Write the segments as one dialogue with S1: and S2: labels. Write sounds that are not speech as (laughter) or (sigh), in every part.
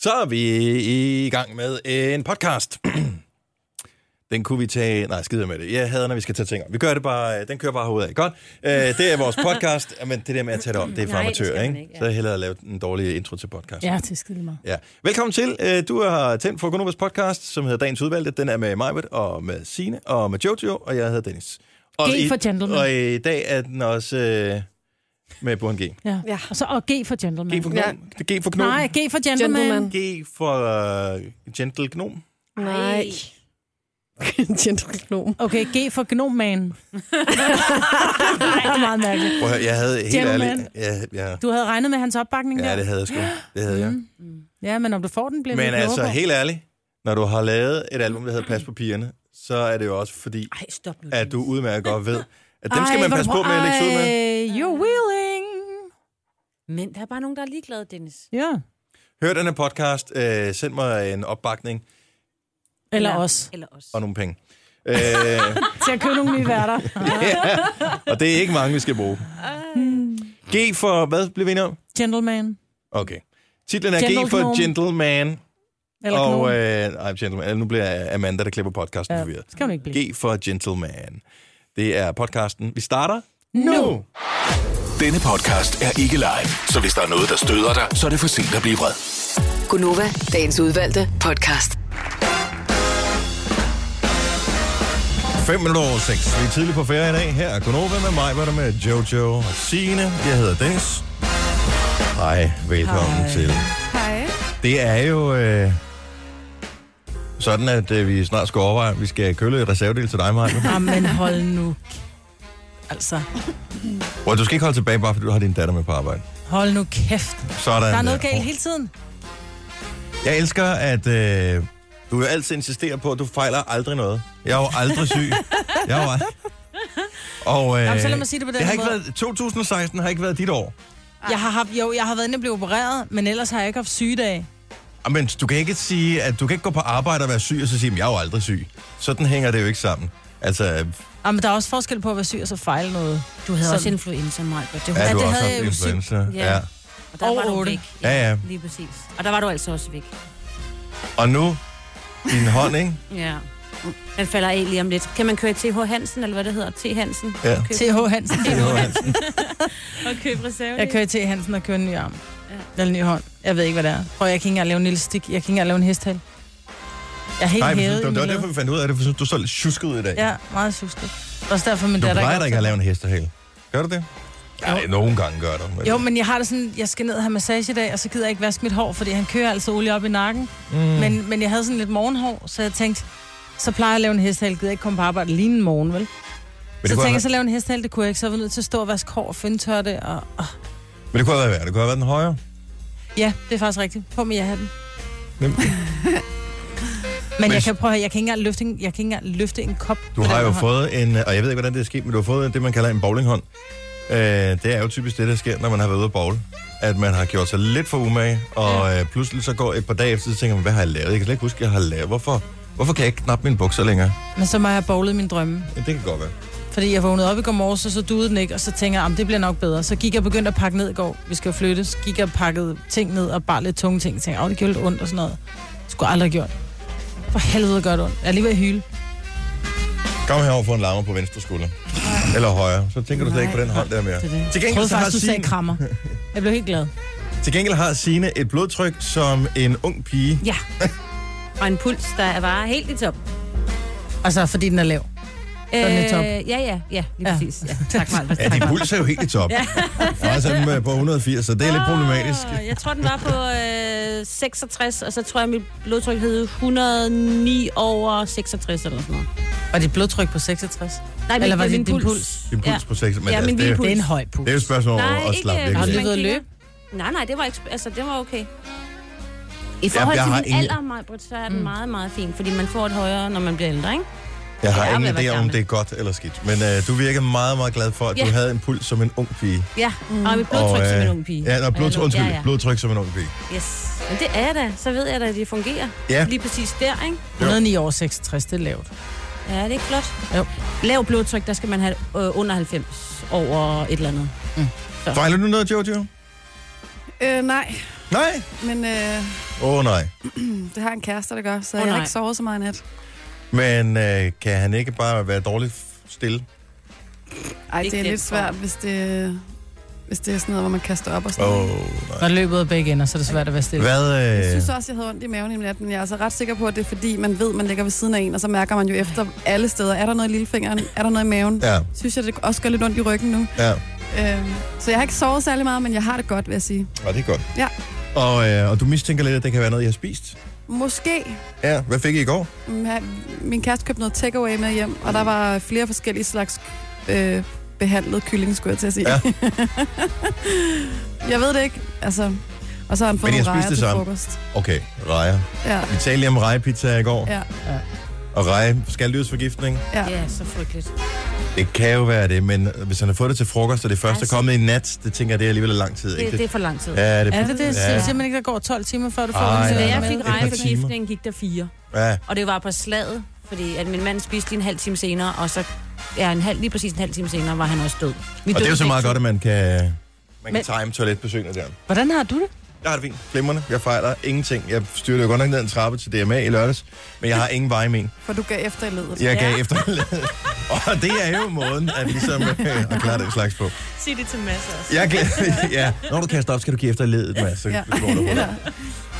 S1: Så er vi i gang med en podcast. (clears throat) Den kunne vi tage... Nej, skide med det. Jeg hader, når vi skal tage ting op. Vi gør det bare... Den kører bare hovedet af. Godt. Øh, det er vores podcast. Men det der med at tage det op, det er for
S2: Nej, det skal
S1: amatører,
S2: man
S1: ikke?
S2: ikke,
S1: ikke?
S2: ja.
S1: Så er hellere at lave en dårlig intro til podcast.
S3: Ja, det er skide meget.
S1: Ja. Velkommen til. Øh, Du har tændt for Gunovas podcast, som hedder Dagens Udvalgte. Den er med Majbet og med Sine og med Jojo, og jeg hedder Dennis. Og
S3: G
S1: i,
S3: for gentleman.
S1: Og i dag er den også øh, med Burhan G.
S3: Ja.
S2: Ja.
S3: ja. Og så og G for gentleman.
S1: G for
S2: Ja.
S1: gnom. Ja. G for gnom.
S3: Nej, G for gentleman.
S2: Gentleman.
S3: gentleman.
S1: G for øh, gentle gnom.
S2: Nej. (laughs)
S4: Gentleman.
S3: Okay, G for
S2: (laughs)
S3: gnomman. Nej, det er meget mærkeligt.
S1: Prøv at høre, jeg havde helt
S3: Gentleman.
S1: ærligt... Ja, ja,
S3: Du Mm. havde regnet med hans opbakning der?
S1: ja, det havde jeg sgu. Det havde jeg.
S3: (gasps) ja, men om du får den, bliver vi
S1: Men
S3: ikke
S1: altså,
S3: klogere på.
S1: helt ærligt, når du har lavet et album, der hedder Pas på pigerne, så er det jo også fordi,
S2: Ej, stop nu.
S1: at du udmærket godt ved, at dem skal
S3: Ej,
S1: man
S3: hvor
S1: passe
S3: du
S1: på med at lægge sig ud med.
S3: Ej, You're willing.
S2: Men der er bare nogen, der er ligeglade, Dennis.
S3: Ja.
S1: Hør den her podcast, øh, send mig en opbakning
S3: Eller os.
S2: Eller os.
S1: og nogle penge. Øh,
S3: (laughs) Til at købe nogle nye
S1: (laughs)
S3: værter.
S1: og det er ikke mange, vi skal bruge. G for, hvad blev vi enige om?
S3: Gentleman.
S1: Okay. Titlen er G
S3: Gentleman.
S1: for Gentleman.
S3: Eller og,
S1: Og, øh, ej, gentleman. Nu bliver Amanda, der klipper podcasten ja.
S3: ja,
S1: forvirret.
S3: skal hun ikke blive.
S1: G for Gentleman. Det er podcasten. Vi starter nu.
S5: Denne podcast er ikke live, så hvis der er noget, der støder dig, så er det for sent at blive vred.
S6: Gunova, dagens udvalgte podcast.
S1: 5 minutter over 6. Vi er tidligt på ferie i dag. Her er Gunova med mig, var der med Jojo og Signe. Jeg hedder Dennis. Hej, velkommen Hej. til. Hej. Det er jo øh, sådan, at øh, vi snart skal overveje, at vi skal køle et reservedel til dig, Maja.
S3: (laughs) Jamen, Ah, hold nu. Altså,
S1: Hvor du skal ikke holde tilbage, bare fordi du har din datter med på arbejde.
S3: hold nu kæft.
S1: Sådan.
S3: Der er noget galt hele tiden.
S1: Jeg elsker, at øh, du jo altid insisterer på, at du fejler aldrig noget. Jeg er jo aldrig
S3: (laughs)
S1: syg. Jeg er jo aldrig... Og, øh,
S3: Jamen, så lad mig sige det på den
S1: det har
S3: her
S1: ikke
S3: måde.
S1: været, 2016 har ikke været dit år.
S3: Jeg har, haft, jo, jeg har været inde og blive opereret, men ellers har jeg ikke haft sygedag.
S1: Ah, Men du kan ikke sige, at du kan ikke gå på arbejde og være syg, og så sige, at jeg er jo aldrig syg. Sådan hænger det jo ikke sammen. Altså,
S3: Ah, men der er også forskel på at være syg og så fejle noget.
S2: Du havde
S3: Sådan.
S2: også influenza, Maj. Det var,
S1: er
S3: det
S1: du også
S3: havde
S1: haft
S3: jeg jo syg.
S1: influenza?
S2: Ja.
S1: Ja.
S2: og der var
S3: over
S2: du
S3: otte.
S2: væk.
S1: Ja, ja.
S2: Lige præcis. Og der var du altså også væk.
S1: Og nu, din hånd, ikke?
S2: Ja. Den falder af lige om lidt. Kan man køre i TH Hansen, eller hvad det hedder? T. Hansen?
S1: Ja.
S2: Og købe,
S3: T.H. Hansen.
S2: (laughs) og købe reserve.
S3: Jeg kører til Hansen og kører en ny arm. Ja. Eller en ny hånd. Jeg ved ikke, hvad det er. Prøv, jeg kan ikke engang lave en lille stik. Jeg kan ikke engang lave en hesthal. Jeg er helt
S1: Nej, men
S3: hævet.
S1: det, var-
S3: i
S1: det var
S3: min
S1: derfor,
S3: led.
S1: vi fandt ud af det, for jeg synes, du så lidt tjusket ud i dag.
S3: Ja, meget sustet. Også derfor, min
S1: Du
S3: datter
S1: plejer da ikke at
S3: har-
S1: lave en hestehale. Gør du det? Ja, nogle gange gør du. Men...
S3: Jo, men jeg har det sådan, jeg skal ned og have massage i dag, og så gider jeg ikke vaske mit hår, fordi han kører altså olie op i nakken. Mm. Men, men jeg havde sådan lidt morgenhår, så jeg tænkte, så plejer jeg at lave en hesthal, gider jeg ikke komme på arbejde lige en morgen, vel?
S1: men,
S3: så
S1: det
S3: tænkte
S1: kunne
S3: jeg,
S1: have,
S3: så lave en hesthal, det kunne jeg ikke, så jeg var nødt til at stå og vaske hår og fyndtørre det, og, og
S1: men det kunne have været værre. Det kunne have været den højere.
S3: Ja, det er faktisk rigtigt. På med jeg den.
S1: Nemt.
S3: (laughs) Men
S1: Men-
S3: jeg kan prøve at høre, jeg kan ikke engang løfte en, jeg kan ikke engang løfte en kop.
S1: Du
S3: med
S1: har
S3: den
S1: jo
S3: her hånd.
S1: fået en, øh, og jeg ved ikke, hvordan det er sket, men du har fået det, man kalder en bowlinghånd. Øh, det er jo typisk det, der sker, når man har været ude at bowle. At man har gjort sig lidt for umage, og øh, pludselig så går et par dage efter, så tænker man, hvad har jeg lavet? Jeg kan slet ikke huske, jeg har lavet. Hvorfor, hvorfor kan jeg ikke knappe mine bukser længere?
S3: Men så må jeg have bowlet min drømme.
S1: Ja, det kan godt være.
S3: Fordi jeg vågnede op i går morges, og så duede den ikke, og så tænker jeg, "Jamen, det bliver nok bedre. Så gik jeg og begyndte at pakke ned i går. Vi skal jo flytte. Så gik jeg og pakkede ting ned, og bare lidt tunge ting. Tænkte, åh, det gjorde lidt ondt og sådan noget. Det skulle jeg aldrig have gjort. For helvede gør det ondt. Jeg er lige ved at hyle.
S1: Kom herover for en lammer på venstre skulder. Eller højre. Så tænker du slet ikke på den hånd der mere.
S3: Det er det.
S1: Til
S3: Jeg
S1: gengæld,
S3: troede
S1: så har
S3: faktisk, du sagde
S1: Signe,
S3: krammer. Jeg blev helt glad.
S1: til gengæld har Signe et blodtryk som en ung
S2: (laughs)
S1: pige.
S2: Ja. Og en puls, der er bare helt i top.
S3: Altså, fordi den er lav. er top.
S2: Øh, Ja, ja, ja. Lige
S3: Ja.
S2: præcis. Ja. Tak, Maj.
S1: Ja, din puls er jo helt i top. Ja. Og er sådan øh, på 180, så det er lidt problematisk.
S2: Åh, Ah, Jeg tror, den var på øh, 66, og så tror jeg, mit blodtryk hed 109 over 66 eller sådan noget.
S3: Og dit blodtryk på 66.
S2: Nej,
S3: Eller
S2: men
S3: var
S2: det
S3: det
S2: min
S3: din
S2: puls?
S3: puls?
S1: Din puls på 6. Men
S2: Ja,
S1: altså,
S2: min
S1: det, er-
S2: puls.
S3: Det er en høj puls.
S1: Det er jo et spørgsmål
S2: Nej,
S1: om at
S2: ikke, øh,
S1: slappe væk.
S2: hvis
S3: Har du
S1: lidt.
S2: man
S3: lige været at
S2: kigger.
S3: løbe?
S2: Nej, nej, det var, ikke, altså, det var okay. I forhold
S1: jeg
S2: til
S1: har
S2: min
S1: ingen-
S2: alder, Majbrit, så er den meget, meget fin, fordi man får et højere, når man bliver ældre, ikke?
S1: Jeg har
S2: Ja,
S1: ingen
S2: men hvad
S1: idé om,
S2: gammel.
S1: det er godt eller skidt. Men øh, du virkede meget, meget glad for, at du
S2: Ja.
S1: havde en puls som en ung pige.
S2: Ja, mm. og mit blodtryk
S1: øh,
S2: som en ung pige.
S1: Ja,
S2: Og
S1: nå,
S2: jeg
S1: blodtryk,
S2: lå-
S1: undskyld,
S2: ja, ja.
S1: blodtryk som en ung pige.
S2: Yes. Men det er jeg da, så ved jeg da, at det fungerer.
S1: Ja.
S2: Lige præcis der, ikke?
S3: 109 over 66, det er lavt.
S2: Ja, det er ikke flot.
S3: Jo.
S2: Lav blodtryk, der skal man have øh, under 90 over et eller andet.
S1: Fejler du noget, Jojo?
S4: Øh, nej,
S1: Nej,
S4: men øh, (clears throat)
S1: Åh oh, nej.
S4: Det har en kæreste, der gør, så
S2: Åh,
S4: jeg
S2: nej.
S4: har ikke sovet så meget i nat.
S1: Men øh, kan han ikke bare være dårligt f- stille?
S4: Ej,
S2: Ikke
S4: det er lidt
S2: den
S4: svært, hvis det, hvis det er sådan noget, hvor man kaster op og sådan
S1: Åh,
S4: noget.
S1: oh, nej.
S3: Når løbet er begge ender, så er det svært at være stille.
S1: Hvad,
S4: Jeg
S1: øh,
S4: synes også, jeg havde ondt i maven i nat, men jeg er altså ret sikker på, at det er fordi, man ved, man ligger ved siden af en, og så mærker man jo efter alle steder, er der noget i lillefingeren, er der noget i maven?
S1: ja,
S4: Synes jeg, det også gør lidt ondt i ryggen nu.
S1: ja.
S4: Øhm, så jeg har ikke sovet særlig meget, men jeg har det godt, vil jeg sige.
S1: Og det er godt.
S4: Ja.
S1: Og, øh, og du mistænker lidt, at det kan være noget, I har spist?
S4: Måske
S1: Ja, hvad fik I i går?
S4: Mm, ha- Min kæreste købte noget takeaway med hjem, og der var flere forskellige slags øh, behandlet kylling, skulle jeg til at sige.
S1: Ja.
S4: Ja. (laughs) jeg ved det ikke, altså. Og så har han fået
S1: Men I har
S4: nogle
S1: spist
S4: rejer
S1: det
S4: til
S1: samme?
S4: frokost.
S1: Okay, rejer.
S4: Ja,
S1: Vi talte lige om rejepizza i går, ja.
S4: ja,
S1: og reje skalddyrsforgiftning.
S4: ja.
S2: Ja, så frygteligt.
S1: Det kan jo være det, men hvis han har fået det til frokost, og det første altså,
S2: Altså-
S1: er kommet i nat, det tænker jeg, det er alligevel lang tid.
S2: Det,
S1: Ikke?
S2: det er for lang tid.
S1: Ja, det,
S3: Er det det?
S1: Ja.
S3: Ja. Simpelthen ikke, der går 12 timer, før du får
S1: Ej,
S3: den
S2: Da
S1: nej,
S2: jeg
S1: nej.
S2: fik
S1: Et par timer.
S2: rejeforgiftning, gik der fire.
S1: ja.
S2: Og det var på slaget, fordi at min mand spiste lige en halv time senere, og så ja, en halv, lige præcis en halv time senere var han også død. Vi
S1: Og det er jo så meget godt, at man kan, man kan
S3: Men-
S1: time toiletbesøgene der.
S3: Hvordan har du det?
S1: Jeg har det fint. Glimrende. Jeg fejler ingenting. Jeg styrte jo godt nok ned ad en trappe til DMA i lørdags, men jeg har ingen vej i men.
S4: for du gav efter i ledet.
S1: Jeg gav
S2: Ja.
S1: efterladet. (laughs) Og det er jo måden at, ligesom, øh, at klare den slags på.
S2: Sig det til masser også.
S1: Jeg gav, (laughs) ja. Når du kaster op, skal du give efterladet, Mads. Så
S4: Ja.
S1: går du på det.
S4: (laughs) ja.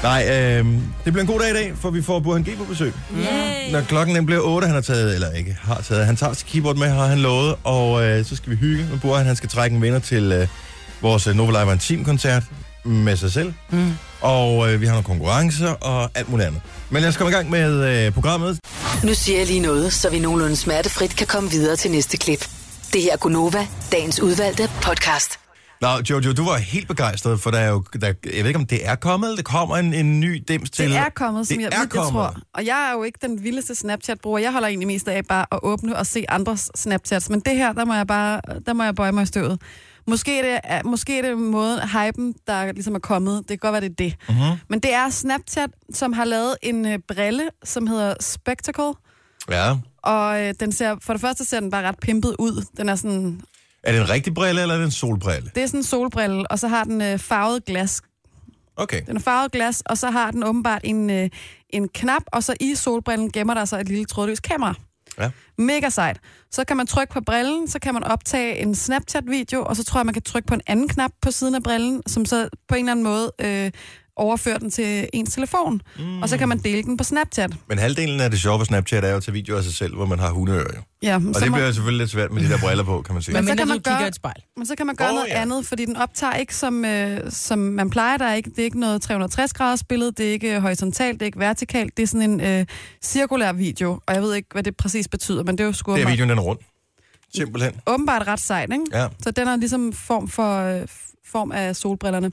S1: Nej, øh, det bliver en god dag i dag, for vi får Burhan G på besøg.
S2: Yay.
S1: Når klokken den bliver 8, han har taget, eller ikke har taget, han tager sit keyboard med, har han lovet, og øh, så skal vi hygge med Burhan. Han skal trække en vinder til øh, vores øh, Nova Live Team-koncert med sig selv. Mm. Og øh, vi har nogle konkurrencer og alt muligt andet. Men lad os komme i gang med øh, programmet.
S6: Nu siger jeg lige noget, så vi nogenlunde smertefrit kan komme videre til næste klip. Det her er Gunova, dagens udvalgte podcast.
S1: Nå, Jojo, du var helt begejstret, for der er jo, der, jeg ved ikke, om det er kommet, eller det kommer en, en ny dims til.
S4: Det er kommet, som
S1: Det
S4: jeg,
S1: er
S4: jeg
S1: kommet.
S4: tror. Og jeg er jo ikke den vildeste Snapchat-bruger. Jeg holder egentlig mest af bare at åbne og se andres Snapchats. Men det her, der må jeg bare der må jeg bøje mig i støvet. Måske er det, er- måske er det måden, hypen, der ligesom er kommet. Det kan godt være, det er det. Mm-hmm. Men det er Snapchat, som har lavet en øh, brille, som hedder Spectacle.
S1: Ja.
S4: Og øh, den ser, for det første ser den bare ret pimpet ud. Den er sådan,
S1: Er det en rigtig brille, eller er det en solbrille?
S4: det er sådan en solbrille, og så har den øh, farvet glas
S1: Okay.
S4: den er farvet glas, og så har den åbenbart en, øh, en knap, og så i solbrillen gemmer der sig et lille trådløst kamera.
S1: Ja.
S4: Mega sejt. Så kan man trykke på brillen, så kan man optage en Snapchat-video, og så tror jeg, man kan trykke på en anden knap på siden af brillen, som så på en eller anden måde øh, overfører den til ens telefon. Mm. Og så kan man dele den på Snapchat.
S1: Men halvdelen af det sjove på Snapchat er jo at tage videoer af sig selv, hvor man har hundeører jo.
S4: Ja,
S1: Og
S4: så
S1: det
S4: må-
S1: bliver jo selvfølgelig lidt svært med de der briller på, kan man sige.
S3: Men
S4: så
S3: mindre
S4: kan
S3: du
S4: man
S3: kigger
S4: gøre-
S3: i et spejl.
S4: Men så kan man gøre
S1: Åh,
S4: oh, noget
S1: ja.
S4: ja. andet, fordi den optager ikke som, øh, som man plejer. Der er ikke, det er ikke noget 360-graders billede, det er ikke øh, horisontalt, det er ikke vertikalt, det er sådan en øh, cirkulær video. Og jeg ved ikke, hvad det præcis betyder, men det er jo sgu
S1: Det er
S4: åbenbart,
S1: videoen, den er rund. Simpelthen.
S4: åbenbart ret sejt, ikke?
S1: Ja.
S4: Så den er ligesom form for øh, f- form af solbrillerne.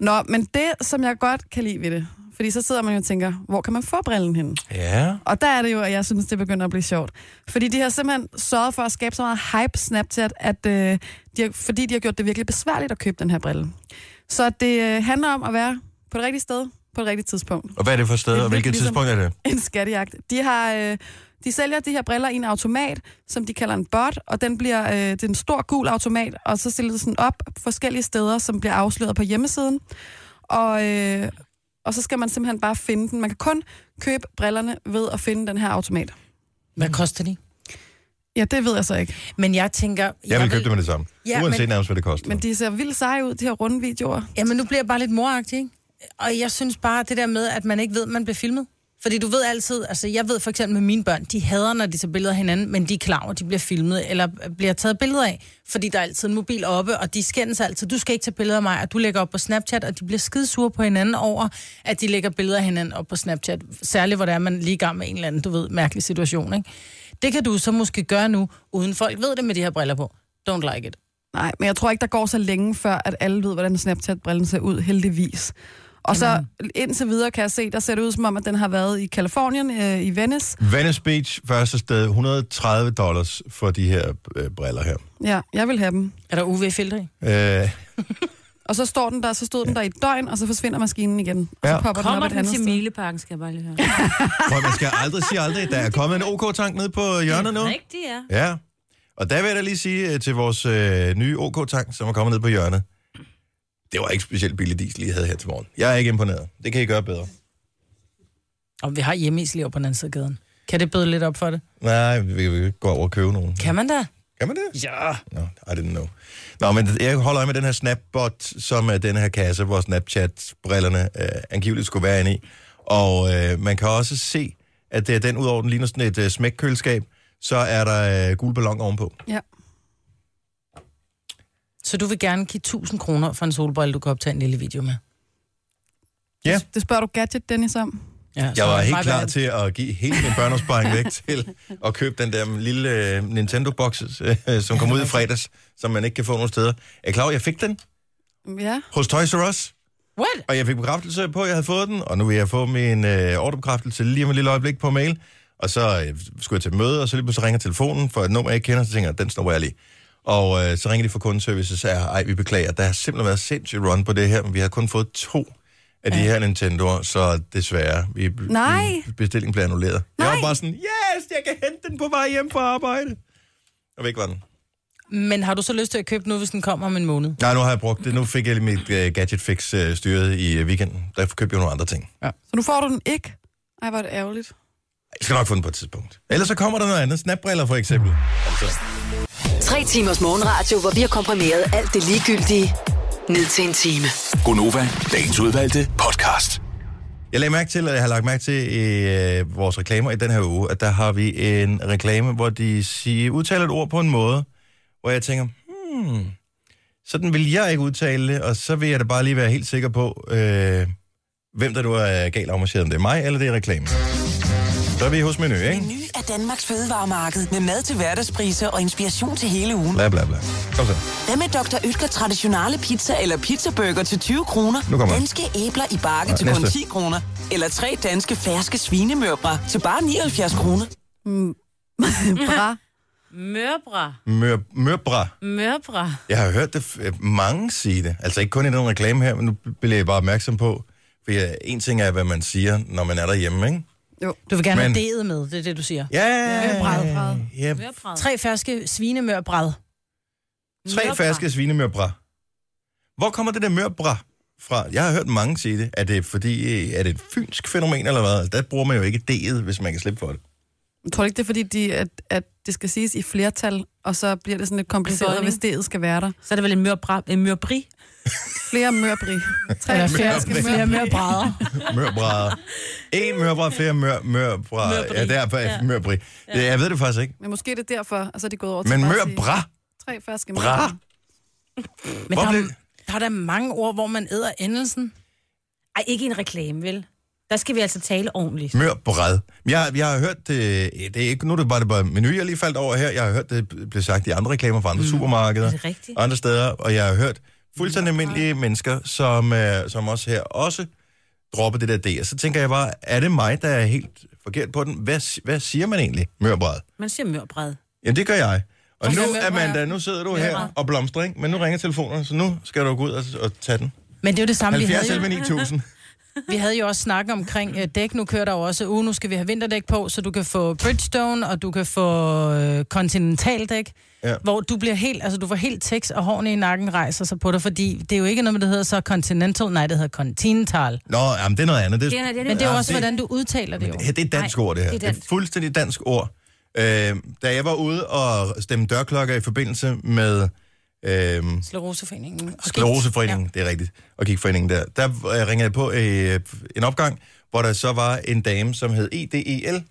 S4: Nå, men det, som jeg godt kan lide ved det, fordi så sidder man jo og tænker, hvor kan man få brillen henne?
S1: Ja.
S4: Og der er det jo, at jeg synes, det begynder at blive sjovt. Fordi de har simpelthen sørget for at skabe så meget hype Snapchat, at, øh, de har, fordi de har gjort det virkelig besværligt at købe den her brille. Så det øh, handler om at være på det rigtige sted, på det rigtige tidspunkt.
S1: Og hvad er det for et
S4: Det
S1: sted,
S4: er
S1: og hvilket
S4: lidt ligesom-
S1: tidspunkt er det?
S4: En skattejagt. De, har, øh, de sælger de her briller i en automat, som de kalder en bot, og den bliver øh, det er en stor gul automat, og så stiller den op forskellige steder, som bliver afsløret på hjemmesiden. Og, øh, og så skal man simpelthen bare finde den. Man kan kun købe brillerne ved at finde den her automat.
S3: Hvad koster de?
S4: Ja, det ved jeg så ikke.
S3: Men jeg tænker... Jeg,
S1: Jeg vil købe det med det samme.
S3: Ja,
S1: Uanset
S3: men-
S1: nærmest, hvad det koster.
S4: Men de ser vildt seje ud, de her runde videoer.
S3: Jamen, nu bliver jeg bare lidt moragtig, ikke? Og jeg synes bare, det der med, at man ikke ved, at man bliver filmet. Fordi du ved altid, altså jeg ved for eksempel med mine børn, de hader, når de tager billeder af hinanden, men de er klar over, at de bliver filmet eller bliver taget billeder af, fordi der er altid en mobil oppe, og de skændes altid. Du skal ikke tage billeder af mig, og du lægger op på Snapchat, og de bliver skidesure på hinanden over, at de lægger billeder af hinanden op på Snapchat. Særligt, hvor der er man er lige i gang med en eller anden, du ved, mærkelig situation, ikke? Det kan du så måske gøre nu, uden folk ved det med de her briller på. Don't like it.
S4: Nej, men jeg tror ikke, der går så længe før, at alle ved, hvordan Snapchat-brillen ser ud, heldigvis. Og så indtil videre kan jeg se, der ser det ud som om, at den har været i Kalifornien, øh, i Venice.
S1: Venice Beach, første sted, 130 dollars for de her øh, briller her.
S4: Ja, jeg vil have dem.
S3: Er der UV-filter i?
S1: Øh,
S4: Og så står den der, så stod den der i et døgn, og så forsvinder maskinen igen.
S1: Ja.
S4: Og så popper den
S2: Kommer
S4: op et
S2: den
S4: andet
S2: til
S4: sted.
S2: Mileparken, skal jeg
S3: (laughs)
S2: bare lige høre.
S1: prøv, man skal aldrig sige aldrig. Der er kommet en OK-tank ned på hjørnet nu.
S2: Rigtigt, ja.
S1: Ja. Og der vil jeg da lige sige øh, til vores øh, nye OK-tank, som er kommet ned på hjørnet. det var ikke specielt billig diesel, I havde her til morgen. Jeg er ikke imponeret. Det kan I gøre bedre.
S3: Og vi har hjemmeis lige over på den anden side af gaden. Kan det bøde lidt op for det?
S1: Nej, vi kan gå over og købe nogen.
S3: Kan man da?
S1: Kan man det?
S3: Ja.
S1: Nå, I didn't know. Nå, men jeg holder øje med den her Snapbot, som er den her kasse, hvor Snapchat-brillerne øh, angiveligt skulle være inde i. Og øh, man kan også se, at det er den, udover den ligner sådan et øh, smækkøleskab, så er der øh, gule ballon ovenpå.
S4: Ja.
S3: Så du vil gerne give 1000 kroner for en solbrille, du kan optage en lille video med?
S1: Ja.
S4: Det spørger du Gadget Dennis om.
S3: Ja, så
S1: Jeg var
S3: er det
S1: helt
S3: meget
S1: klar
S3: værd.
S1: til at give hele min børneopsparing
S3: (laughs)
S1: væk til at købe den der lille øh, Nintendo-box, øh, som kom ud i fredags, som man ikke kan få nogen steder. Er I klar over, jeg fik den
S4: Ja.
S1: hos Toys R Us?
S3: What?
S1: Og jeg fik bekræftelse på, at jeg havde fået den, og nu vil jeg få min øh, ordrebekræftelse lige om et lille øjeblik på mail. Og så øh, skulle jeg til møde, og så lige pludselig ringer telefonen for et nummer, jeg ikke kender, så tænker jeg, den snupper jeg lige. Og øh, så ringer de fra kundeservice og siger, ej, vi beklager, der har simpelthen været sindssygt run på det her, men vi har kun fået to af de her Nintendo'er, så desværre, vi,
S4: Nej.
S1: vi- bestillingen bliver annulleret. Nej. Jeg var bare sådan, yes, jeg kan hente den på vej hjem fra arbejde. Og væk var den.
S3: Men har du så lyst til at købe nu, hvis den kommer om en måned?
S1: Nej, nu har jeg brugt det. Nu fik jeg mit øh, gadget fix øh, styret i øh, weekenden. Der købte jeg nogle andre ting.
S4: Så nu får du den ikke. Ej, hvor er det ærgerligt.
S1: Jeg skal nok få den på et tidspunkt. Ellers så kommer der noget andet. Snapbriller for eksempel. Altså.
S6: Tre timers morgenradio, hvor vi har komprimeret alt det ligegyldige ned til en time.
S5: Gonova, dagens udvalgte podcast.
S1: Jeg lagde mærke til, at jeg har lagt mærke til i øh, vores reklamer i den her uge, at der har vi en reklame, hvor de siger, udtaler et ord på en måde, hvor jeg tænker, hmm, sådan vil jeg ikke udtale det, og så vil jeg da bare lige være helt sikker på, øh, hvem der nu er galt afmarcheret, om det er mig eller det er reklamen. Så er vi hos menu, ikke?
S7: Meny er Danmarks fødevaremarked med mad til hverdagspriser og inspiration til hele ugen.
S1: Bla bla bla. Kom så.
S7: Hvad med Dr. Ytger traditionelle pizza eller pizzaburger til 20 kroner?
S1: Nu kommer den.
S7: Danske æbler i bakke
S1: Nej,
S7: til kun
S1: næste.
S7: 10 kroner. Eller tre danske ferske svinemørbra til bare 79 kroner.
S4: Bra.
S2: Mørbra.
S1: Mør, mørbra.
S2: Mørbra.
S1: Jeg har hørt det f- øh, mange sige det. Altså ikke kun i den reklame her, men nu blev jeg bare opmærksom på. For jeg, en ting er, hvad man siger, når man er derhjemme, ikke?
S3: Du vil gerne
S1: Men-
S3: have deet med, det er det, du siger.
S1: Ja,
S4: Mørbrad, brad.
S1: ja.
S2: Mørbra.
S3: Tre ferske svinemørbræd.
S1: Tre ferske svinemørbra. Hvor kommer det der mørbra fra? Jeg har hørt mange sige det. Er det fordi, øh, er det et fynsk fænomen eller hvad? Altså, der bruger man jo ikke D'et, hvis man kan slippe for det.
S4: Jeg tror du ikke, det er fordi, de, at, at det skal siges i flertal, og så bliver det sådan lidt kompliceret,
S2: Bøjning.
S4: hvis det skal være der.
S2: Så er det vel en mørbra, en mørbri.
S4: Flere mørbri. Tre
S3: Eller
S4: ferske
S3: ferske flere mørbrædder.
S1: Mørbrader. En mørbra, flere mør, mørbra.
S2: Mørbri.
S1: Ja, der er ja.
S2: Ja.
S1: mørbri. Ja. Jeg ved det faktisk ikke.
S4: Men måske er det derfor, og så er de gået over til
S1: Men
S4: bare at sige
S1: mørbra.
S4: Tre ferske
S1: Bra.
S4: mørbri.
S3: Men
S1: Hvor
S3: der,
S1: blev-
S3: er- der er der mange ord, hvor man æder endelsen.
S2: Ej, ikke en reklame, vel? Der skal vi altså tale ordentligt.
S1: Mørbræd. Jeg, jeg har hørt det, det er ikke, nu er det bare det bare menu, jeg lige faldt over her. Jeg har hørt det blive sagt i andre reklamer fra andre mm. supermarkeder
S2: Er det rigtigt?
S1: og andre steder, og jeg har hørt fuldstændig almindelige mennesker, som, øh, som også her også dropper det der D. Og så tænker jeg bare, er det mig, der er helt forkert på den? Hvad, si- hvad siger man egentlig, mørbræd?
S2: Man siger mørbræd.
S1: Jamen, det gør jeg. Og nu,
S3: mørbræd.
S1: Amanda, nu sidder du her og blomstrer, ikke? men nu ringer telefonen, så nu skal du gå ud og, og tage den.
S3: Men det er jo det samme, vi
S1: 70
S3: havde,
S1: 11
S3: jo,
S1: 9000.
S3: vi havde jo også snakket omkring øh, dæk. Nu kører der jo også, uh, nu skal vi have vinterdæk på, så du kan få Bridgestone, og du kan få øh, kontinentaldæk.
S1: Ja.
S3: Ja. Hvor du bliver helt, altså du får helt tekst, og hårene i nakken rejser sig på dig, fordi det er jo ikke noget, der hedder så continental, nej, det hedder continental.
S1: Nå, jamen, det er noget andet. Det,
S2: Det er- det er-
S3: Men det er jo
S1: Ja,
S3: også, hvordan du udtaler det jo.
S1: Ja, det er et dansk Nej, ord, det her. Det er, det er
S2: dansk.
S1: fuldstændig dansk ord. Øh, da jeg var ude og stemme dørklokker i forbindelse med øh,
S3: Skleroseforeningen. Og
S1: Skleroseforeningen, ja. det er rigtigt, og Gigforeningen der, der øh, ringede jeg på øh, en opgang, hvor der så var en dame, som hed E EDEL,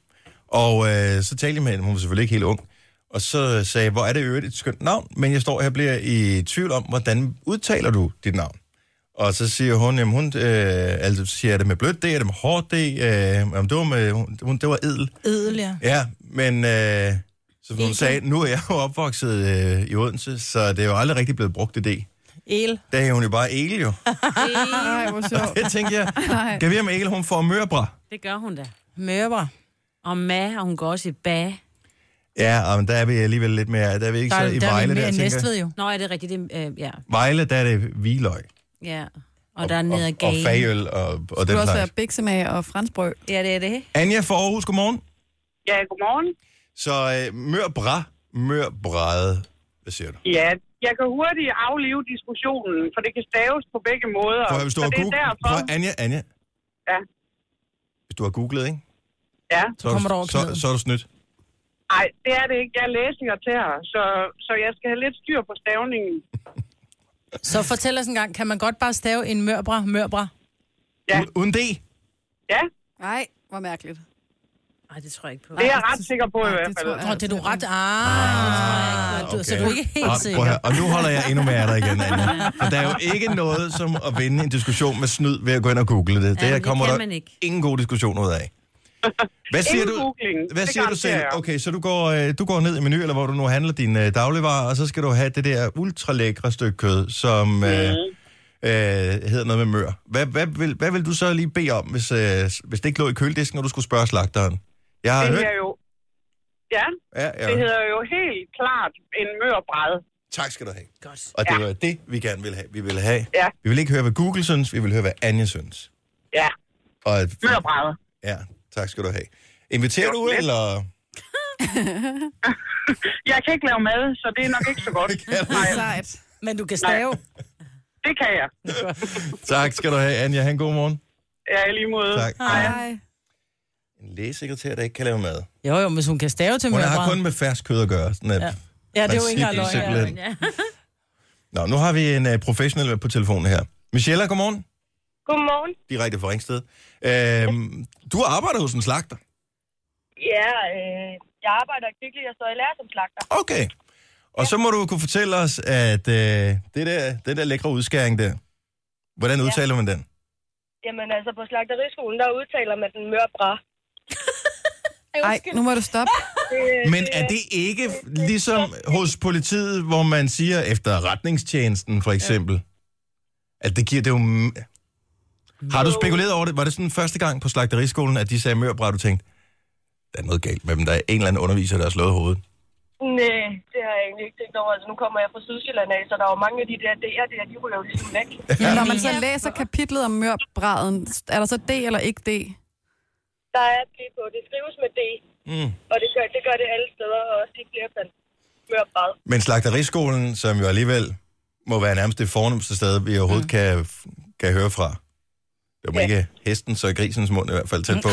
S1: og øh, så talte jeg med hende, hun var selvfølgelig ikke helt ung, og så sagde jeg, hvor er det i øvrigt et skønt navn, men jeg står her og bliver i tvivl om, hvordan udtaler du dit navn? Og så siger hun, jamen hun, øh, altså siger jeg det med blødt D, er det med hårdt D, øh, jamen det var med, hun, hun- det var edel.
S3: Edel, ja.
S1: Ja, men øh, som hun
S2: Edel.
S1: sagde, nu er jeg jo opvokset øh, i Odense, så det er jo aldrig rigtig blevet brugt det D.
S3: El.
S1: Der er hun jo bare Egel
S3: (laughs)
S1: jo.
S4: Ej, hvor
S1: (laughs)
S4: sjovt.
S1: Det tænkte jeg, kan vi om Egel, hun får mørbra?
S2: Det gør hun da.
S3: Mørbra.
S2: Og ma, og hun går også i ba.
S1: Ja, og men der er vi alligevel lidt mere, der er vi ikke
S3: Der,
S1: så
S3: er-
S1: i
S3: der er vi
S1: Vejle
S3: mere
S1: der,
S3: end
S1: tænker jeg.
S3: Næstved jo.
S2: Nå, er det rigtigt? Det, øh, ja.
S1: Vejle, der er det Viløj.
S2: ja. Og der er nede
S1: og, og Fagøl og, og
S4: Det
S1: den
S4: kunne også være
S1: slags.
S4: biksemag og fransbrød.
S2: Ja, det er det.
S1: Anja fra Aarhus, godmorgen.
S8: Ja, godmorgen.
S1: Så øh, mørbra, mørbræde, hvad siger du?
S8: Ja, jeg kan hurtigt aflive diskussionen, for det kan staves på begge måder.
S1: Prøv at, hvis du
S8: så
S1: har
S8: det er
S1: googlet...
S8: derfor.
S1: Prøv, at- Anja, Anja,
S8: Ja,
S1: hvis du har googlet, ikke?
S8: ja.
S1: Så, er
S3: kommer du
S1: du,
S3: over
S1: så,
S3: knuden.
S1: så er du snydt.
S8: Ej, det er det ikke. Jeg er læsinger til her, så, så jeg skal have lidt styr på stavningen.
S3: (laughs) Så fortæl os en gang, kan man godt bare stave en mørbra, mørbra?
S8: Ja.
S1: U- Uden det.
S8: Ja,
S4: Nej, hvor mærkeligt.
S2: Nej, det tror jeg ikke på.
S8: det er jeg ret sikker på
S4: Ej,
S8: i hvert
S4: det
S8: fald.
S4: tror jeg. altså
S3: Nå, det er du ret. Ah, okay. så du er ikke helt
S1: Og, prøv at
S3: sikker.
S1: høre,
S4: (laughs)
S1: og nu holder jeg endnu mere af dig igen,
S2: (laughs)
S1: Anja. For der er jo ikke noget som at vinde en diskussion med snyd ved at gå ind og google det.
S2: men
S1: det
S2: det
S1: kommer
S2: kan
S1: der
S2: man ikke.
S1: ingen god diskussion ud af. Hvad siger
S8: Ingen
S1: du?
S8: googling,
S1: Hvad
S8: det
S1: siger du selv?
S8: garanterer jeg.
S1: Okay, så du går, øh, du går ned i menu, eller hvor du nu handler dine øh, dagligvarer, og så skal du have det der ultralækre stykke kød, som øh, øh, hedder noget med mør. Hvad, hvad, vil, hvad vil du så lige bede om, hvis, øh, hvis det ikke lå i køledisken, og du skulle spørge slagteren? Jeg har
S8: Det
S1: hørt...
S8: hedder jo... Ja,
S1: Ja,
S8: det
S1: ja.
S8: hedder jo helt klart en mørbræd.
S1: Tak skal du have.
S2: Godt.
S1: Og det
S8: Ja.
S1: var det, vi gerne ville have. Vi ville have.
S8: Ja.
S1: Vi vil ikke høre, hvad Google synes, vi vil høre, hvad Anja synes.
S8: Ja,
S1: Og,
S8: mørbræd.
S1: ja, tak skal du have. Inviterer
S8: Det var
S1: du,
S8: lidt.
S1: eller?
S8: Jeg kan ikke lave mad, så det er nok ikke så
S1: (laughs)
S8: godt. Nej,
S4: Sejt.
S3: Men du kan stave.
S8: det kan
S1: (laughs)
S8: jeg.
S1: Tak skal du have, Anja. Ha' en god morgen.
S8: Ja, i lige måde.
S1: Tak.
S4: Hej.
S1: En lægesekretær, der ikke kan lave mad.
S3: Jo, jo, hvis hun kan stave til
S1: Hun
S3: mørbra.
S1: har kun med fersk kød at gøre. Sådan at, ja.
S3: Ja, det er jo ikke engang løgn.
S1: Princippet,
S3: Ja.
S1: simpelthen. Nå, nu har vi en uh, professionel med på telefonen her. Michelle, godmorgen.
S8: Godmorgen.
S1: Direkte fra Ringsted. Øhm, du arbejder hos en slagter.
S8: Ja, øh, jeg arbejder i Kvickly, jeg står i lærer som slagter.
S1: Okay. Og så må du kunne fortælle os, at øh, det der, den der lækre udskæring der, hvordan udtaler man den?
S8: Jamen altså, på slagteriskolen, der udtaler man den mørbræ.
S4: (laughs) Ej, nu må du stoppe.
S8: øh,
S1: Men er det ikke ligesom hos politiet, hvor man siger efter retningstjenesten for eksempel, at det giver det er jo... Har du spekuleret over det? Var det sådan første gang på slagteriskolen, at de sagde mørbræt, du tænkte, der er noget galt med dem, der er en eller anden underviser, der har slået hovedet?
S8: Nej, det har jeg egentlig ikke tænkt over. Altså, nu kommer jeg fra Sydsjælland af, så der er jo mange af de der D'er, der, de ryger jo ligesom væk.
S4: Ja, når man så læser kapitlet om mørbræden, er der så D eller ikke D?
S8: Der er det på. Det skrives med D,
S1: Mm.
S8: og det gør det, gør det alle steder, og også i flertal. Mørbræd.
S1: Men slagteriskolen, som jo alligevel må være nærmest det fornemmeste sted, vi overhovedet mm. kan, kan høre fra. Det var
S8: Ja.
S1: ikke hesten, så grisens mund i hvert fald tæt på.